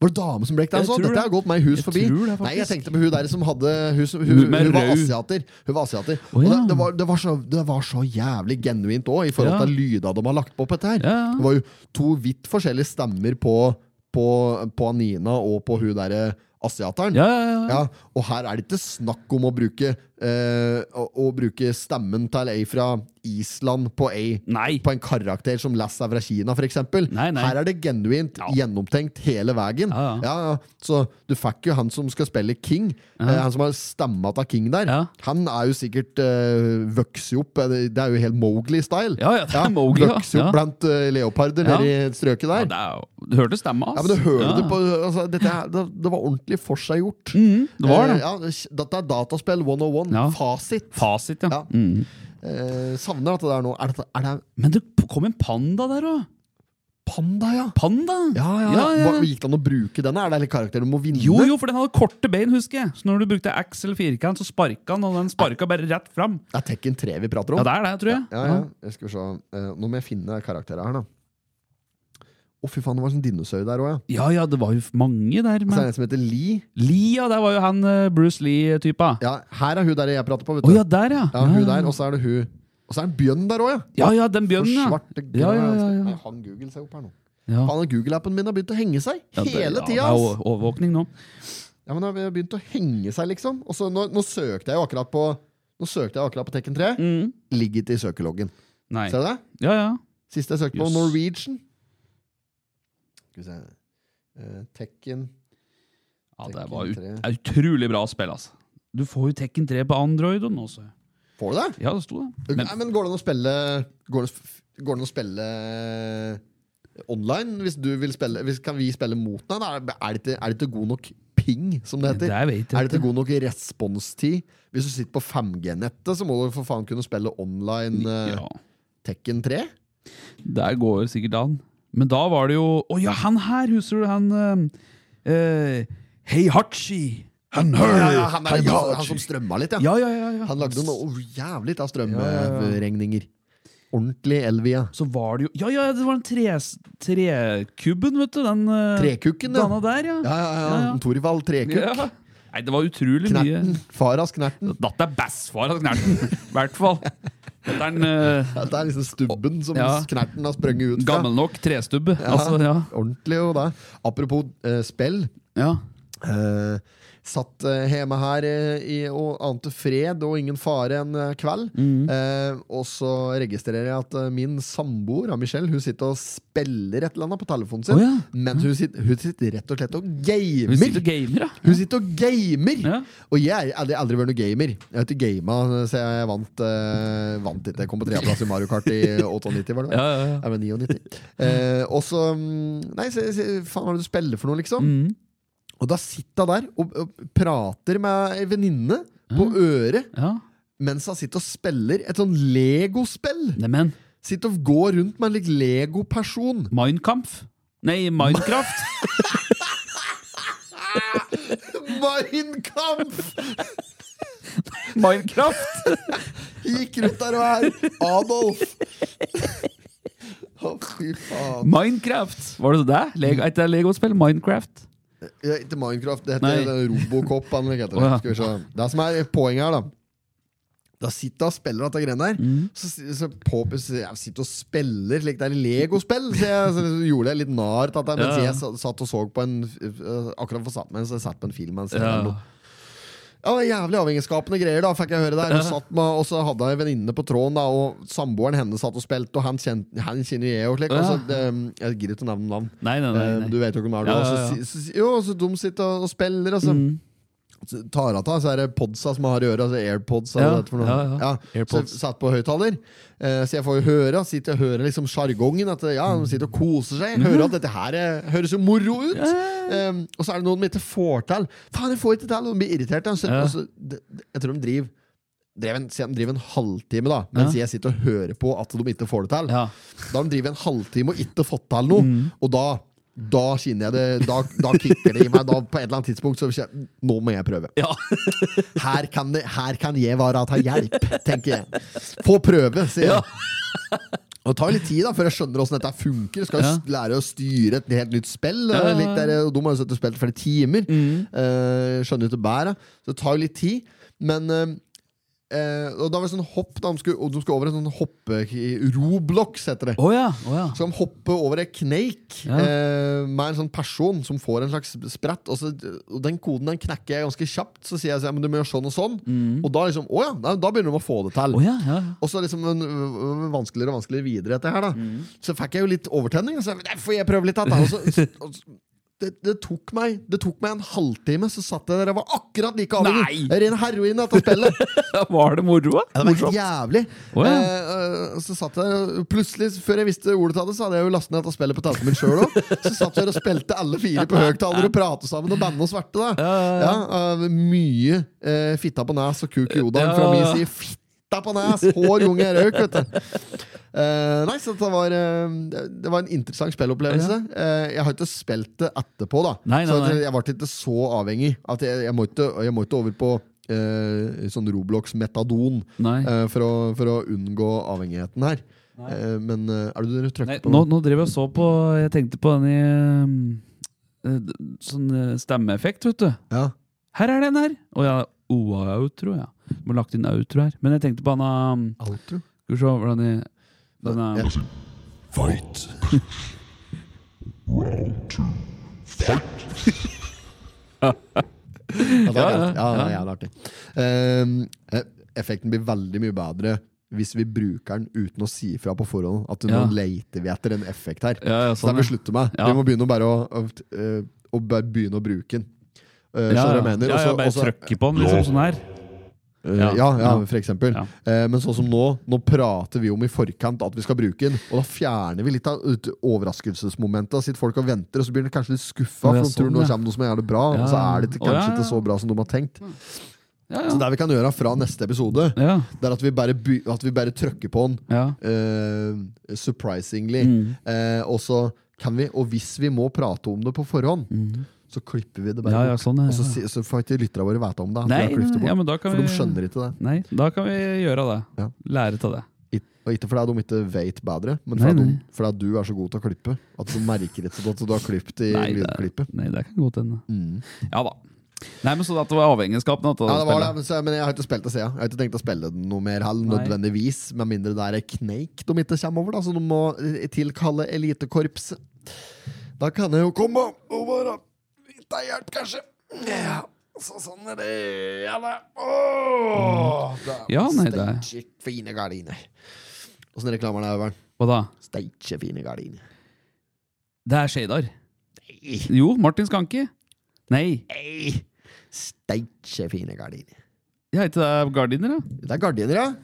Var det dame som breakdance
Jeg
òg?
tror
Dette
det.
har gått meg hus
Jeg
forbi.
tror det, faktisk.
Nei, jeg tenkte på hun der som hadde Hun, som, hun,
Hun
hun,
med
var
rød.
asiater. Hun var asiater.
Å,
Og det,
ja.
det, var, det, var så, det var så jævlig genuint òg, i forhold
Ja.
til lyda de har lagt på på dette her.
Ja, ja.
Det var jo to vidt forskjellige stemmer på, på, på Nina og på hun derre asiateren.
Ja, ja, ja.
Ja, og her er det ikke snakk om å bruke, eh, å, å bruke stemmen til ei fra Island på, ei,
Nei.
på en karakter som Lass er fra Kina, f.eks.
Nei, nei.
Her er det genuint
Ja.
gjennomtenkt hele veien.
Ja, ja.
ja. Så du fikk jo han som skal spille King, eh, han som har stemma til King der.
Ja.
Han er jo sikkert eh, vokst opp eh, Det er jo helt Mowgli-style.
Ja, ja, det er Mowgli, ja.
Vokst opp
Ja.
blant eh, leoparder
Ja.
nede i strøket
Ja,
der.
det er, jo- du hørte stemma hans.
Ja, men du hører
Ja.
det på altså, dette, her- det, det var ordentlig forseggjort.
Mm, det var det.
Eh, ja, dette er dataspill 101.
Ja.
Fasit.
Fasit, ja.
Ja.
Mm.
Eh, savner dette der nå. Er det, er det
Men det kom en panda der òg.
panda, ja?
Panda?
Ja, ja, ja.
Ja, ja, ja.
Hva, gikk det an å bruke den? Er det en karakter du må vinne?
Jo, jo, for den hadde korte bein, husker jeg. Så når du brukte X eller firkant, så sparka han, og den sparka bare rett fram.
Det er Tekken 3 vi prater om.
Ja, det er det, tror jeg.
Ja, ja. Jeg skal vi se. Eh, nå må jeg finne karakterer her, da. Å, fy faen, det var en sånn dinosaur der òg, ja.
ja, ja, det var jo mange der.
Så er
Men...
det en som heter Lee.
Lia, der var jo han eh, Bruce Lee-typa. Å ja.
Ja, her er hun der jeg prater på, vet du.
ja, der, ja.
Ja, hun der, Og så er det hun. Og så er det en bjønn der òg, ja.
ja, ja, den
For
bjørnen, ja.
svarte grønne
Ja, ja, ja,
mennesker.
ja.
Nei, han Google seg opp her nå.
ja.
Faen, Google-appen min har begynt å henge seg
Ja, det-
hele
ja,
tida!
Det er
ass.
o- overvåkning nå.
Ja, men det har begynt å henge seg, liksom. Og så nå, nå søkte jeg jo akkurat på Nå søkte jeg akkurat på Tekken 3. Ligger ikke i søkeloggen.
Mm. Nei.
Ser du det?
Ja, ja.
Siste jeg søkte på,
Jøss.
Norwegian. Skal vi se Eh, Tekken
ja det
Tekken
var ut,
3.
det er utrolig bra spill, altså. Du får jo Tekken 3 på Android og nå, så.
Får du det?
Ja, det sto det. Men,
Nei, men går det an å spille Går det, går det an å spille eh, online? Hvis du vil spille hvis, Kan vi spille mot deg? da? Er, er, det ikke, er det ikke god nok ping, som det
Det vet
heter?
jeg
er det ikke
ikke.
god nok responstid? Hvis du sitter på 5G-nettet, så må du for faen kunne spille online eh,
ja.
Tekken 3.
Der går sikkert an. Men da var det jo Å ja, han her, husker du han eh, eh, Heihachi. Han her.
Ja, ja, han, er,
Heihachi.
han som strømma litt,
Ja,
ja.
ja, ja, ja.
Han lagde noe oh, jævlig av
Ja, ja, ja.
strømregninger. Ordentlig Elvia.
Så var det jo Ja, ja, det var den tres- trekubben, vet du. Den eh,
Trekukken, ja.
denne der, ja.
Ja, ja, ja.
Ja, ja.
Torvald Trekukk.
Ja. Nei, det var utrolig
Knerten.
mye.
Faras Knerten.
Datt er bassfar av Knerten, i hvert fall. Dette er en eh,
Ja, Det er liksom stubben som
Ja.
Knerten har sprunget ut fra.
gammel nok trestubbe. Altså, ja.
Ordentlig jo det. Apropos eh, spill.
ja.
Eh, satt eh, hjemme her eh, i, og ante fred og ingen fare en eh, kveld.
Mm.
Eh, og så registrerer jeg at eh, min samboer ah, Michelle, hun sitter og spiller et eller annet på telefonen sin.
Å, ja.
Men hun sitter, hun sitter rett og slett og gamer!
Hun sitter og gamer, ja.
Hun sitter og gamer!
Ja.
Og jeg har aldri, aldri vært noen gamer. Jeg har ikke gama, så jeg vant, eh, vant ikke. Jeg kom på tredjeplass i Mario Kart i 98, var det vel?
Ja, ja, ja.
Eller 99. Eh, og så mm, Nei, se, se, faen, hva er det du spiller for noe, liksom?
Mm.
Og da sitter hun der og, og prater med ei venninne på øret
ja.
mens hun sitter og spiller et sånn legospill.
Neimen,
Sitter og går rundt med en lik legoperson.
Mindkampf? Nei, Minecraft.
Mein Kampf!
Minecraft!
Gikk rundt der og her. Adolf! Å, fy faen.
Minecraft! Var det det? Leg er ikke det Lego-spill? Minecraft?
Ja, ikke Minecraft, det
Nei.
heter Robocop. han vel heter
Å, ja.
det. Skal vi se. det som er poenget her, da da sitter han og spiller dette greiene der.
Mm.
Så, si- så på, så jeg sitter og spiller slik det er i legospill. Så jeg så gjorde jeg litt narr til dette.
Ja,
Mens
ja.
jeg sa- satt og så på en øh, Akkurat for satt meg, så jeg satt på en film. Mens jeg
Ja.
ja. Ja, det var Jævlig avhengighetsskapende greier, da, fikk jeg høre der. Hun satt med, og så hadde jeg en venninne på tråden, da, og samboeren hennes satt og spilte, og han, kjen, han kjenner jeg og slik. Og så, øhm, jeg gidder ikke å nevne navn.
Nei, nei, nei.
Eh,
nei.
Du vet jo hvem det er.
Ja,
Ja,
ja, ja. Mm.
Så, si- så, si- jo, så de sitter og- og spiller, og så så tar av ta, så er det podsa som har i øret. Altså AirPods.
Ja,
Ja, for noe.
ja, ja.
Ja.
AirPods.
Så jeg satt på høyttaler. Eh, så jeg får jo høre og sitter og hører liksom sjargongen. At ja, de sitter og koser seg.
Mm-hmm.
Hører at dette her eh, høres jo moro ut. Eh, og så er det noen de ikke får til. Faen, jeg får ikke til! Og de blir irritert. da. Så,
Ja.
og så, det- det- jeg tror de driver drev en, se, de driver en halvtime, da mens jeg sitter og hører på at de ikke får det til.
Ja.
Da har de drevet en halvtime og ikke fått til noe,
Mm.
og da da kjenner jeg det, da, da kicker det i meg. Da, på et eller annet tidspunkt så kjenner jeg, Nå må jeg prøve.
Ja.
Her kan, det, her kan jeg være ta hjelp, tenker jeg. Få prøve, sier jeg. Og Det tar litt tid da før jeg skjønner åssen dette funker. Skal jo
Ja.
s- lære å styre et helt nytt spill.
Ja, Mm. ja,
eh, litt der, og De har jo sittet og spilt i flere timer. Eh, skjønner jo ikke bæret. Så det tar jo litt tid. Men eh, eh, Og da var det sånn hopp da, de skulle, og de skulle over en sånn hoppe... Roblox heter det.
Å ja. å ja.
Så de hopper over en kneik
Ja.
eh, med en sånn person som får en slags sprett. Og, så, og den koden den knekker jeg ganske kjapt. Så sier jeg så, ja, men du må gjøre sånn og sånn. Og da liksom, å ja, nei, da begynner de å få det til.
Mm. Å ja, ja. ja.
Og så liksom ø, ø, ø, vanskeligere og vanskeligere videre etter her da
Mm.
Så fikk jeg jo litt overtenning. og Så jeg, "Nei, får jeg prøve litt da, da?" Og så, og så, det, det, tok meg, det tok meg en halvtime, så satt jeg der og var akkurat like avhengig.
Nei!
Ren heroin etter spillet.
Var det moro?
Ja, det var helt jævlig.
Å, ja.
Eh, eh, så satt jeg og Plutselig, før jeg visste ordet av det, så hadde jeg jo lastet ned dette spillet på telefonen min sjøl òg. Så satt jeg og spilte alle fire på høyttaler og pratet sammen og banna og svarte. da ja, eh, Mye eh, fitta på nes og kuk i odaen fra min side. Fitta på nes! Hår, unge, røyk, vet du. Eh, nei, så det var, eh, det- det var en interessant spillopplevelse. Eh, jeg har ikke spilt det etterpå, da.
Nei, nei,
så at
nei.
jeg ble ikke så avhengig. At jeg, jeg, må ikke, jeg må ikke over på eh, sånn Roblox-metadon
Nei.
eh, for, å, for å unngå avhengigheten her. Eh, men eh, er det du
Nei,
trykker på?
nå, nå driver jeg og så på Jeg tenkte på den i eh, d- Sånn eh, stemmeeffekt, vet du.
Ja.
Her er den her! Å ja, OA-outro, ja. Må ha lagt inn outro her. Men jeg tenkte på han um,
Outro?
Skal vi se hvordan de den um, er-
Ja. sånn,
Fight!
Ja, det er
Ja, ja,
jævlig- ja, det er jævlig artig. Eh, eh, effekten blir veldig mye bedre hvis vi bruker den uten å si fra på forhånd at
Ja.
nå leter vi etter en effekt her.
Ja, ja,
Så det
sånn,
må vi
ja.
slutte med.
Ja.
Vi må begynne å bare å, å, eh, å bare begynne å bruke den. Eh,
Ja,
skjønner du
ja,
hva jeg mener?
ja, ja,
Også-
bare
også-
trykke på den, liksom sånn her.
Eh,
Ja.
ja, ja,
Ja.
for eksempel.
Ja.
Eh, men sånn som nå, nå prater vi om i forkant at vi skal bruke den, og da fjerner vi litt av ut- overraskelsesmomentet. Sitter folk og venter, og så blir de kanskje litt skuffa,
Å, ja,
for de tror
sånn,
nå
ja.
kommer noe som er jævlig bra,
Ja.
og så er det
Å,
ikke-
ja,
kanskje
ja.
ikke så bra som de har tenkt.
Ja,
Så
ja.
det vi kan gjøre fra neste episode,
ja,
det er at vi bare, by- at vi bare trykker på den
ja.
eh, surprisingly.
Mm.
Eh, og så kan vi, og hvis vi må prate om det på forhånd, så klipper vi det bare
Ja, ja,
bort.
sånn, ja,
Og så,
ja.
si- så får ikke lytterne våre vite om det. at vi
Nei,
har klippet det bort.
ja, men da kan
for
vi-
de skjønner ikke det.
Nei, da kan vi gjøre det.
Ja.
Lære av det.
Ik- Og ikke fordi de ikke vet bedre, men
Nei,
fordi,
nei.
De, fordi du er så god til å klippe. At du merker ikke at du har klippet i
Nei, det,
lydklippet. Mm.
nei, det kan godt hende. Ja da. Nei, men Så at det var avhengigheten at
Ja, det var det, men så- men jeg har ikke spilt det siden. Jeg har ikke tenkt å spille det noe mer heller,
Nei.
nødvendigvis. Med mindre det er en kneik de ikke kommer over, da, så de må eh, tilkalle elitekorpset. Da kan jeg jo komme og være litt av hjelp, kanskje. Ja, så sånn er det. Ja, da. Åh, da
Mm. Ja, nei, det er-
Steike fine gardiner. Åssen reklamer er det, Øyvind?
Hva da?
Steike fine gardiner.
Det er Shadar.
Nei,
Jo, Martin Skanke. Nei.
nei. Steike fine gardiner.
Jeg heter det Gardiner, da.
Det er gardiner, ja.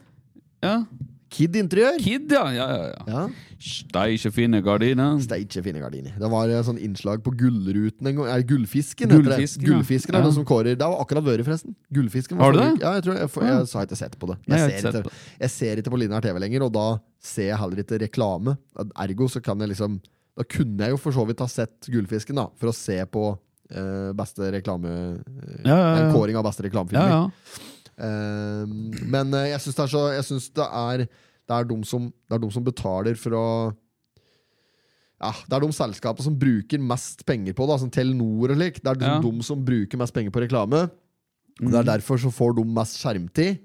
Ja.
Kid interiør.
Kid, ja. ja, ja, ja.
Ja.
Steike fine gardiner.
Steike fine gardiner. Det var eh, sånn innslag på Gullruten en gang. Er det Gullfisken, heter
Gullfisken,
det.
ja.
Gullfisken er
Ja.
det som kårer. Det har akkurat vært, forresten. Gullfisken var
Har du
forrige
det?
uke. Ja, jeg, tror, jeg, for, jeg, har ikke sett på det.
Nei, jeg
Jeg,
har ikke
ser,
sett på
ikke, jeg ser ikke på Linær TV lenger, og da ser jeg heller ikke reklame. Ergo så kan jeg liksom Da kunne jeg jo for så vidt ha sett Gullfisken, da, for å se på eh, beste reklame... eh,
Ja, ja, ja.
En kåring av beste
Ja,
reklamefilmer.
ja.
Eh, men eh, jeg syns det er så Jeg synes det er Det er de som, det er de som betaler for å ja, Det er de selskapene som bruker mest penger på det, som Telenor og slik. Det er de,
Ja.
de som bruker mest penger på reklame.
Mm.
Og Det er derfor så får de mest skjermtid.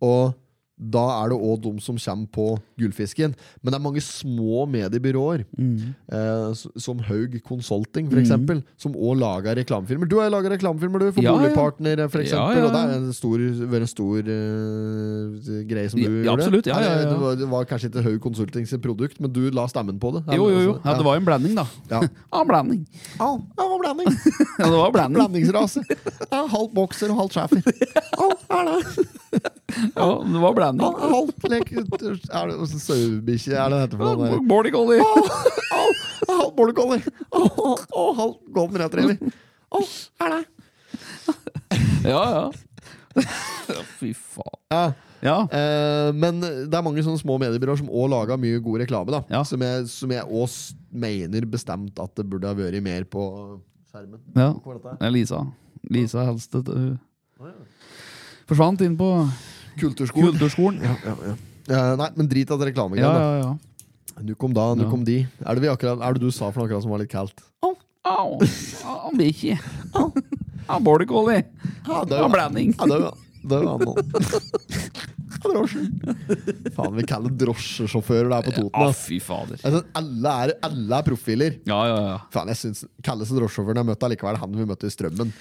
Og da er det òg de som kommer på Gullfisken. Men det er mange små mediebyråer,
Mm.
eh, s- som Haug Consulting,
Mhm.
for eksempel, som òg lager reklamefilmer. Du har laga reklamefilmer, du, for
Ja, ja.
Boligpartner, for
Ja,
eksempel.
ja,
Og det
ja.
er en stor, vært en stor eh, greie som du
Ja,
gjorde.
absolutt. Ja, ja, ja.
Eller, Det, var, det var kanskje ikke Haug Consulting sitt produkt, men du la stemmen på det.
Jo, jo, jo. Ja, det var
var
jo en blanding, da.
Ja.
Ja, blanding.
Au, det var blanding.
Ja, det var blanding.
Blandingsrase. Ja, halvt bokser og halvt schæfer. Au, er det?
Ja, det var
Ja,
blanding.
Halvt lek Er det også sauebikkje? Er det det heter for noe? der?
Border collie.
Au! Halvt border collie! Au, au, au, Halvt golden retriever! Au, er det?
Ja, ja. Fy faen.
Ja,
Ja.
eh, men det er mange sånne små mediebyråer som òg lager mye god reklame. da
Ja.
Som jeg- Som jeg òg mener bestemt at det burde ha vært mer på skjermen.
ja.
Hvor er dette?
Det er Lisa. Lisa Helstedt. Hun forsvant inn på
Kulturskolen.
kulturskolen. Ja,
Ja, ja. Eh, nei, men drit i det reklamegreiet.
ja,
Ja,
ja.
Nu kom da, nu
Ja.
kom de. Er det, vi akkurat, er det du sa for noe akkurat som var litt kaldt?
Au! Au, bikkje. Au, border collie.
Ja, det
Au, blanding.
Ja, det var, det var noen. Drosje. Faen, vi kaller drosjesjåfører der på Toten.
Å,
ass.
fy fader.
Altså, alle, er, alle er profiler.
Ja, ja, ja.
Faen, jeg synes, Kalleste drosjesjåføren jeg møtte, er likevel han vi møtte i Strømmen.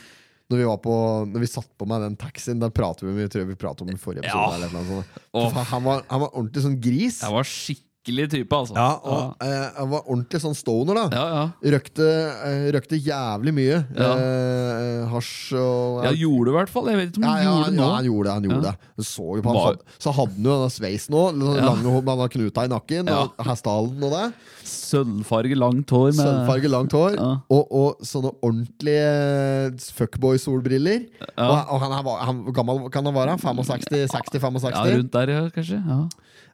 Når vi, var på, når vi satt på med den taxien, da prater vi om jeg tror vi pratet om den forrige episode.
Ja.
Eller et eller annet sånt.
Åh.
Faen, han, var, han var ordentlig sånn gris.
Jeg var skikkelig type, altså.
Ja, og eh, han var ordentlig sånn stoner, da.
ja, ja.
Røkte, eh, røkte jævlig mye.
Ja.
Eh, hasj og
Jeg gjorde det i hvert fall. Jeg vet ikke om
Ja,
du gjorde
ja, han,
det nå.
ja, han gjorde det. Han gjorde
Ja.
det. Du Så, jo på han,
Var-
hadde- så hadde han jo denne sveisen òg.
Ja.
Lange hår med denne knuta i nakken.
Ja.
Og hestehalen og det.
Sølvfarge, langt hår med
Sølvfarge, Sånn langt hår.
Ja.
Og, og sånne ordentlige fuckboy-solbriller.
Ja.
Og, og han, er va- han, hvor gammel kan han være? 65? 60-65?
Ja, Mm.
Ja,
rundt der, ja, kanskje. Ja.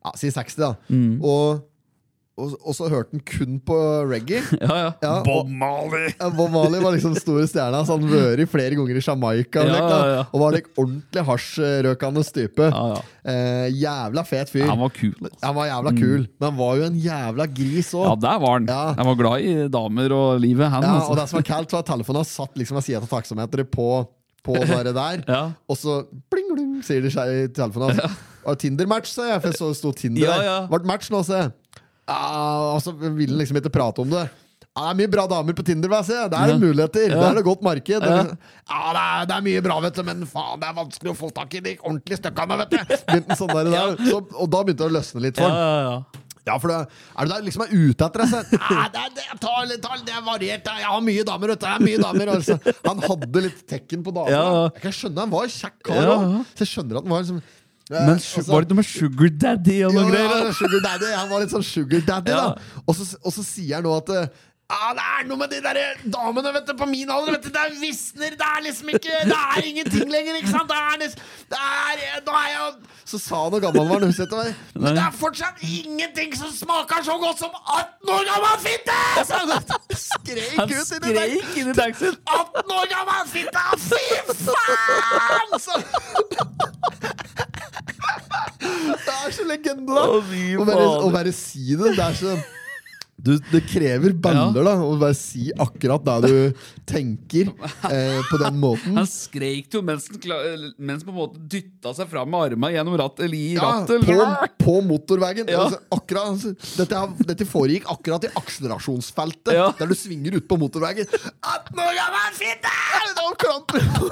si 60, da. Og, og, og så hørte han kun på reggae.
Ja, ja.
Ja, og-
Marley!
Ja, Bob Marley var liksom store stjerna, så han vært flere ganger i Jamaica. og
Ja,
slik, da.
ja, ja.
Og var like ordentlig hasjrøkende type.
Ja, ja.
Eh, jævla fet fyr.
Han var kul. altså.
Han var jævla kul, men han var jo en jævla gris òg.
Ja, der var han.
Ja.
Han var glad i damer og livet, han.
Ja,
altså.
og det som var kaldt, var at telefonen satt liksom ved siden av taksameteret på, på bare der.
Ja.
Og så bling, bling, sier de seg i telefonen. Altså. Og Tinder-match, sa jeg, for så sto Tinder
Ja,
der.
ja.
Vart match nå, sa jeg. Ja, og så ville han liksom ikke prate om det. Ja, det er mye bra damer på Tinder, hva jeg sier. Det er det muligheter. Det er det godt marked. Ja, det, er, det er mye bra, vet du, men faen, det er vanskelig å få tak i de ordentlige stykkene, vet du. Begynte han sånn der, der. Så, og da begynte det å løsne litt for
Ja,
han.
ja, ja.
Ja, for det, er du der liksom er ute etter deg selv? Nei, det, er- det, er- ta, litt- ta, litt, det er variert. da. Jeg har mye damer, vet du. Jeg har mye damer. og Altså. Han hadde litt tekken på damer.
Ja.
Jeg kan skjønne han var en kjekk kar
Ja.
også. Så jeg skjønner at han var liksom eh,
Men su- var det ikke noe med Sugar Daddy og noe
ja,
greier?
ja, sugar daddy. Han var litt sånn sugar daddy,
Ja.
da. Og så, og så sier han nå at eh, «Ah, det er noe med de der damene vet du, på min alder. Vet du, det er visner. Det er liksom ikke Det er ingenting lenger, ikke sant? Det er, nes- det er, eh, da er jeg, Så sa han hvor gammel han var. nå, husker jeg ikke hva- Men det er fortsatt ingenting som smaker så godt som 18 år gammel fitte! Så han skrek
Han
ut i det der.
skrek inn i taxien!
18 år gammel fitte! Fy faen! Så- Det er så legende, da.
Å, fy
Å bare,
fader.
å bare si det. Det er så Du, det krever baller da å bare si akkurat det du tenker, eh, på den måten.
Han skreik jo mens, den kla- mens på en måte dytta seg fram med armene gjennom rattet, eller i
Ja,
rattet.
på, på motorveien.
Ja.
Altså, akkurat, altså, dette, her- dette foregikk akkurat i akselerasjonsfeltet,
Ja.
der du svinger ut på motorveien. 18 år gammel fitte! Da klamper du på.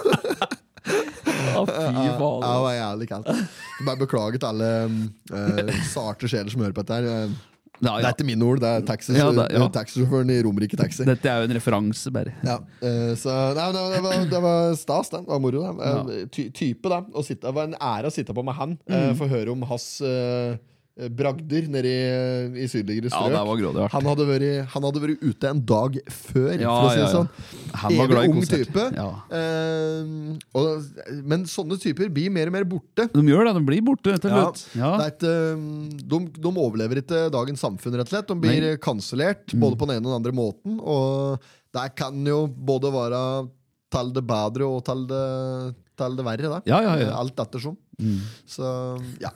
Å, fy faen.
Ja, det var jævlig kaldt. Jeg Bare beklager til alle um, eh, sarte sjeler som hører på dette. her
Ja,
Det
ja.
er ikke mine ord, det er taxi-
Ja, det- ja.
taxisjåføren i Romerike Taxi.
Dette er jo en referanse, bare.
Ja, eh, så, nei, men det, var, det var stas, den. Det var moro. den. Eh, Ty, type, da. Å sitte, det var en ære å sitte på med han.
Mm.
eh, Få høre om hans eh, bragder nede i, i sydligere
Ja,
strøk.
det var grådig hardt.
han, hadde vært, han hadde vært ute en dag før,
Ja,
for å
ja,
si det
ja.
sånn.
Han var glad i
Evig ung
konserter.
type.
Ja.
Eh, og, men sånne typer blir mer og mer borte.
De gjør det, de blir borte til
Ja.
slutt. Ja.
Det er et, um, de, de overlever ikke dagens samfunn, rett og slett. De blir
Nei. Mm.
kansellert både på den ene og den andre måten. Og det kan jo både være til det bedre og til det, til det verre. Da.
Ja, ja, ja. Mm.
Alt ettersom. Så ja.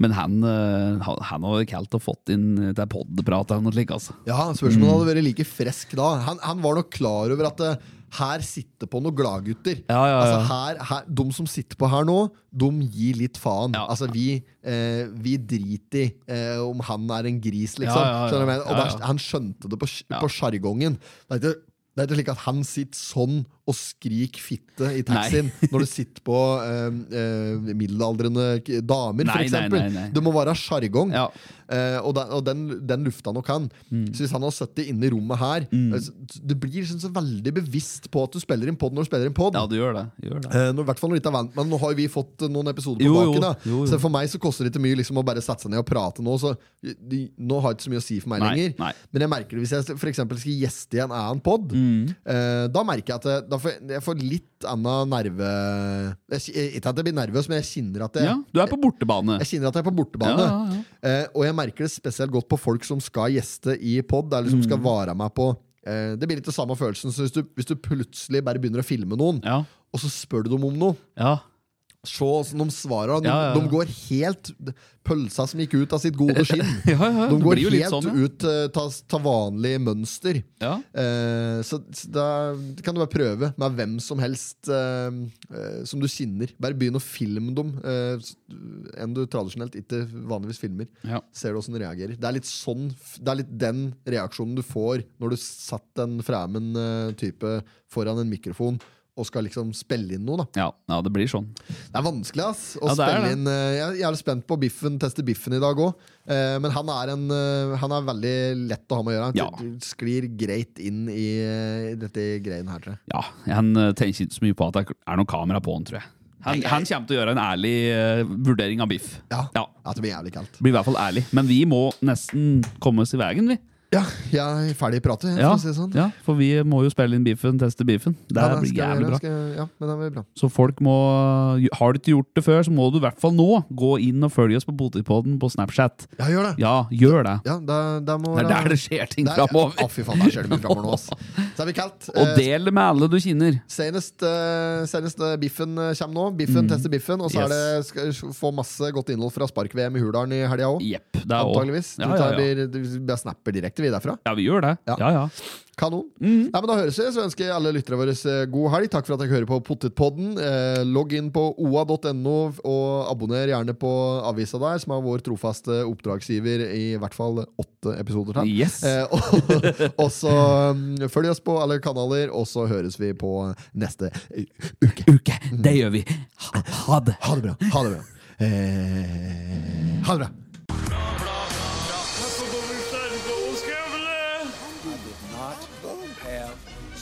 Men han, eh, han, han hadde ikke helt fått inn til podprat eller noe slikt, altså.
ja Spørsmålet hadde vært like frisk da. Han, han var nok klar over at eh, her sitter på noen gladgutter.
Ja, ja, ja.
Altså, her, her, de som sitter på her nå, de gir litt faen.
Ja.
Altså, vi, eh, vi driter i eh, om han er en gris,
Ja,
liksom.
ja, ja.
Skjønner du hva jeg mener? Og
Ja,
der-
ja.
han skjønte det på, sj-
Ja.
på sjargongen. Det, er ikke- det er ikke slik at han sitter sånn og skriker fitte i taxien når du sitter på eh, eh, middelaldrende k- damer,
Nei, nei,
for eksempel.
nei, nei.
Det må være sjargong.
Ja.
Eh, og den, og den, den lufta nok han.
Mm.
Så hvis han har sittet inne i rommet her altså, Du blir sånn, så veldig bevisst på at du spiller inn pod når du spiller inn pod.
Ja, du gjør det. Du gjør det.
Eh, nå- i hvert fall når det ikke er vant, men nå har jo vi fått eh, noen episoder på
Jo, jo,
baken. Da.
jo, jo.
Så for meg så koster det ikke mye liksom, å bare sette seg ned og prate nå. Så de, nå har det ikke så mye å si for meg
Nei,
lenger.
nei.
Men jeg merker det hvis jeg for eksempel skal gjeste i en annen pod.
Mm.
eh, da merker jeg at jeg, da får, jeg- jeg får litt annen nerve jeg, jeg- Ikke at jeg blir nervøs, men jeg kjenner at jeg,
Ja, du er på bortebane.
jeg kjenner at jeg er på bortebane.
Ja, ja,
Eh, og jeg merker det spesielt godt på folk som skal gjeste i pod, eller som
Mm.
skal vare meg på eh, Det blir litt det samme følelsen som hvis du, hvis du plutselig bare begynner å filme noen,
Ja.
og så spør du dem om noe.
ja.
Se åssen de svarer. De,
Ja, ja, ja.
de går helt Pølsa som gikk ut av sitt gode skinn.
Ja, ja, ja.
De
Det
går
blir jo litt
helt
sånn, ja.
ut eh, ta, ta vanlig mønster.
Ja.
Eh, så så da kan du bare prøve med hvem som helst eh, eh, som du kjenner. Bare begynn å filme dem, eh, s- enn du tradisjonelt ikke vanligvis filmer.
Ja.
Ser du hvordan de reagerer. Det er litt sånn f- Det er litt den reaksjonen du får når du satt en fremmed eh, type foran en mikrofon og skal liksom spille inn noe. da
Ja, ja, det blir sånn.
det er vanskelig ass, å
Ja, det er
spille
det.
inn. eh, Jeg er jævlig spent på biffen, teste biffen i dag òg. Men han er, en, eh, han er veldig lett å ha med å gjøre. Han
Ja.
t- sklir greit inn i eh, dette greien her. Tror jeg.
Ja, Han eh, tenker ikke så mye på at det er noe kamera på han, tror jeg. Han, han kommer til å gjøre en ærlig eh, vurdering av biff.
Ja.
Ja.
At det blir jævlig kaldt.
Blir i hvert fall ærlig. Men vi må nesten komme oss i veien, vi.
Ja, jeg er ferdig i pratet. jeg,
Ja,
for å si det sånn.
ja, for vi må jo spille inn beefen, teste beefen. Det
Ja, da
blir
skal jeg
jævlig
gjøre,
bra.
Skal, jeg- ja, men det blir bra.
Så folk må Har du ikke gjort det før, så må du i hvert fall nå gå inn og følge oss på Potipodden på Snapchat.
Ja, gjør det!
Ja, gjør det.
Ja, da, da må
Det er der det skjer ting
Der- Å,
framover.
fy faen, der skjer det mye framover nå, ass. Så er vi kaldt. Eh,
Og del det med alle du kjenner.
Senest, eh, senest eh, biffen eh, kommer nå. Biffen
Mm.
tester biffen. Og så er det, skal få masse godt innhold fra spark-VM i Hurdalen i helga òg.
Jepp. Det er
Antageligvis.
Ja, ja, ja.
Du tar, blir, vi bare snapper direkte vi derfra.
ja, vi gjør det.
Ja.
Ja, ja.
Kanon.
Mhm.
Nei, men Da høres vi. Så ønsker jeg alle lytterne våre eh, god helg. Takk for at dere hører på Pottetpodden. Eh, logg inn på oa.no, og abonner gjerne på avisa der, som er vår trofaste oppdragsgiver i hvert fall åtte episoder til.
Yes.
Eh, og, og så mm, følg oss på alle kanaler, og så høres vi på neste uke.
Uke. Det gjør vi. Ha, ha det.
Ha det bra. Ha det bra. Eh, ha det bra.
Not have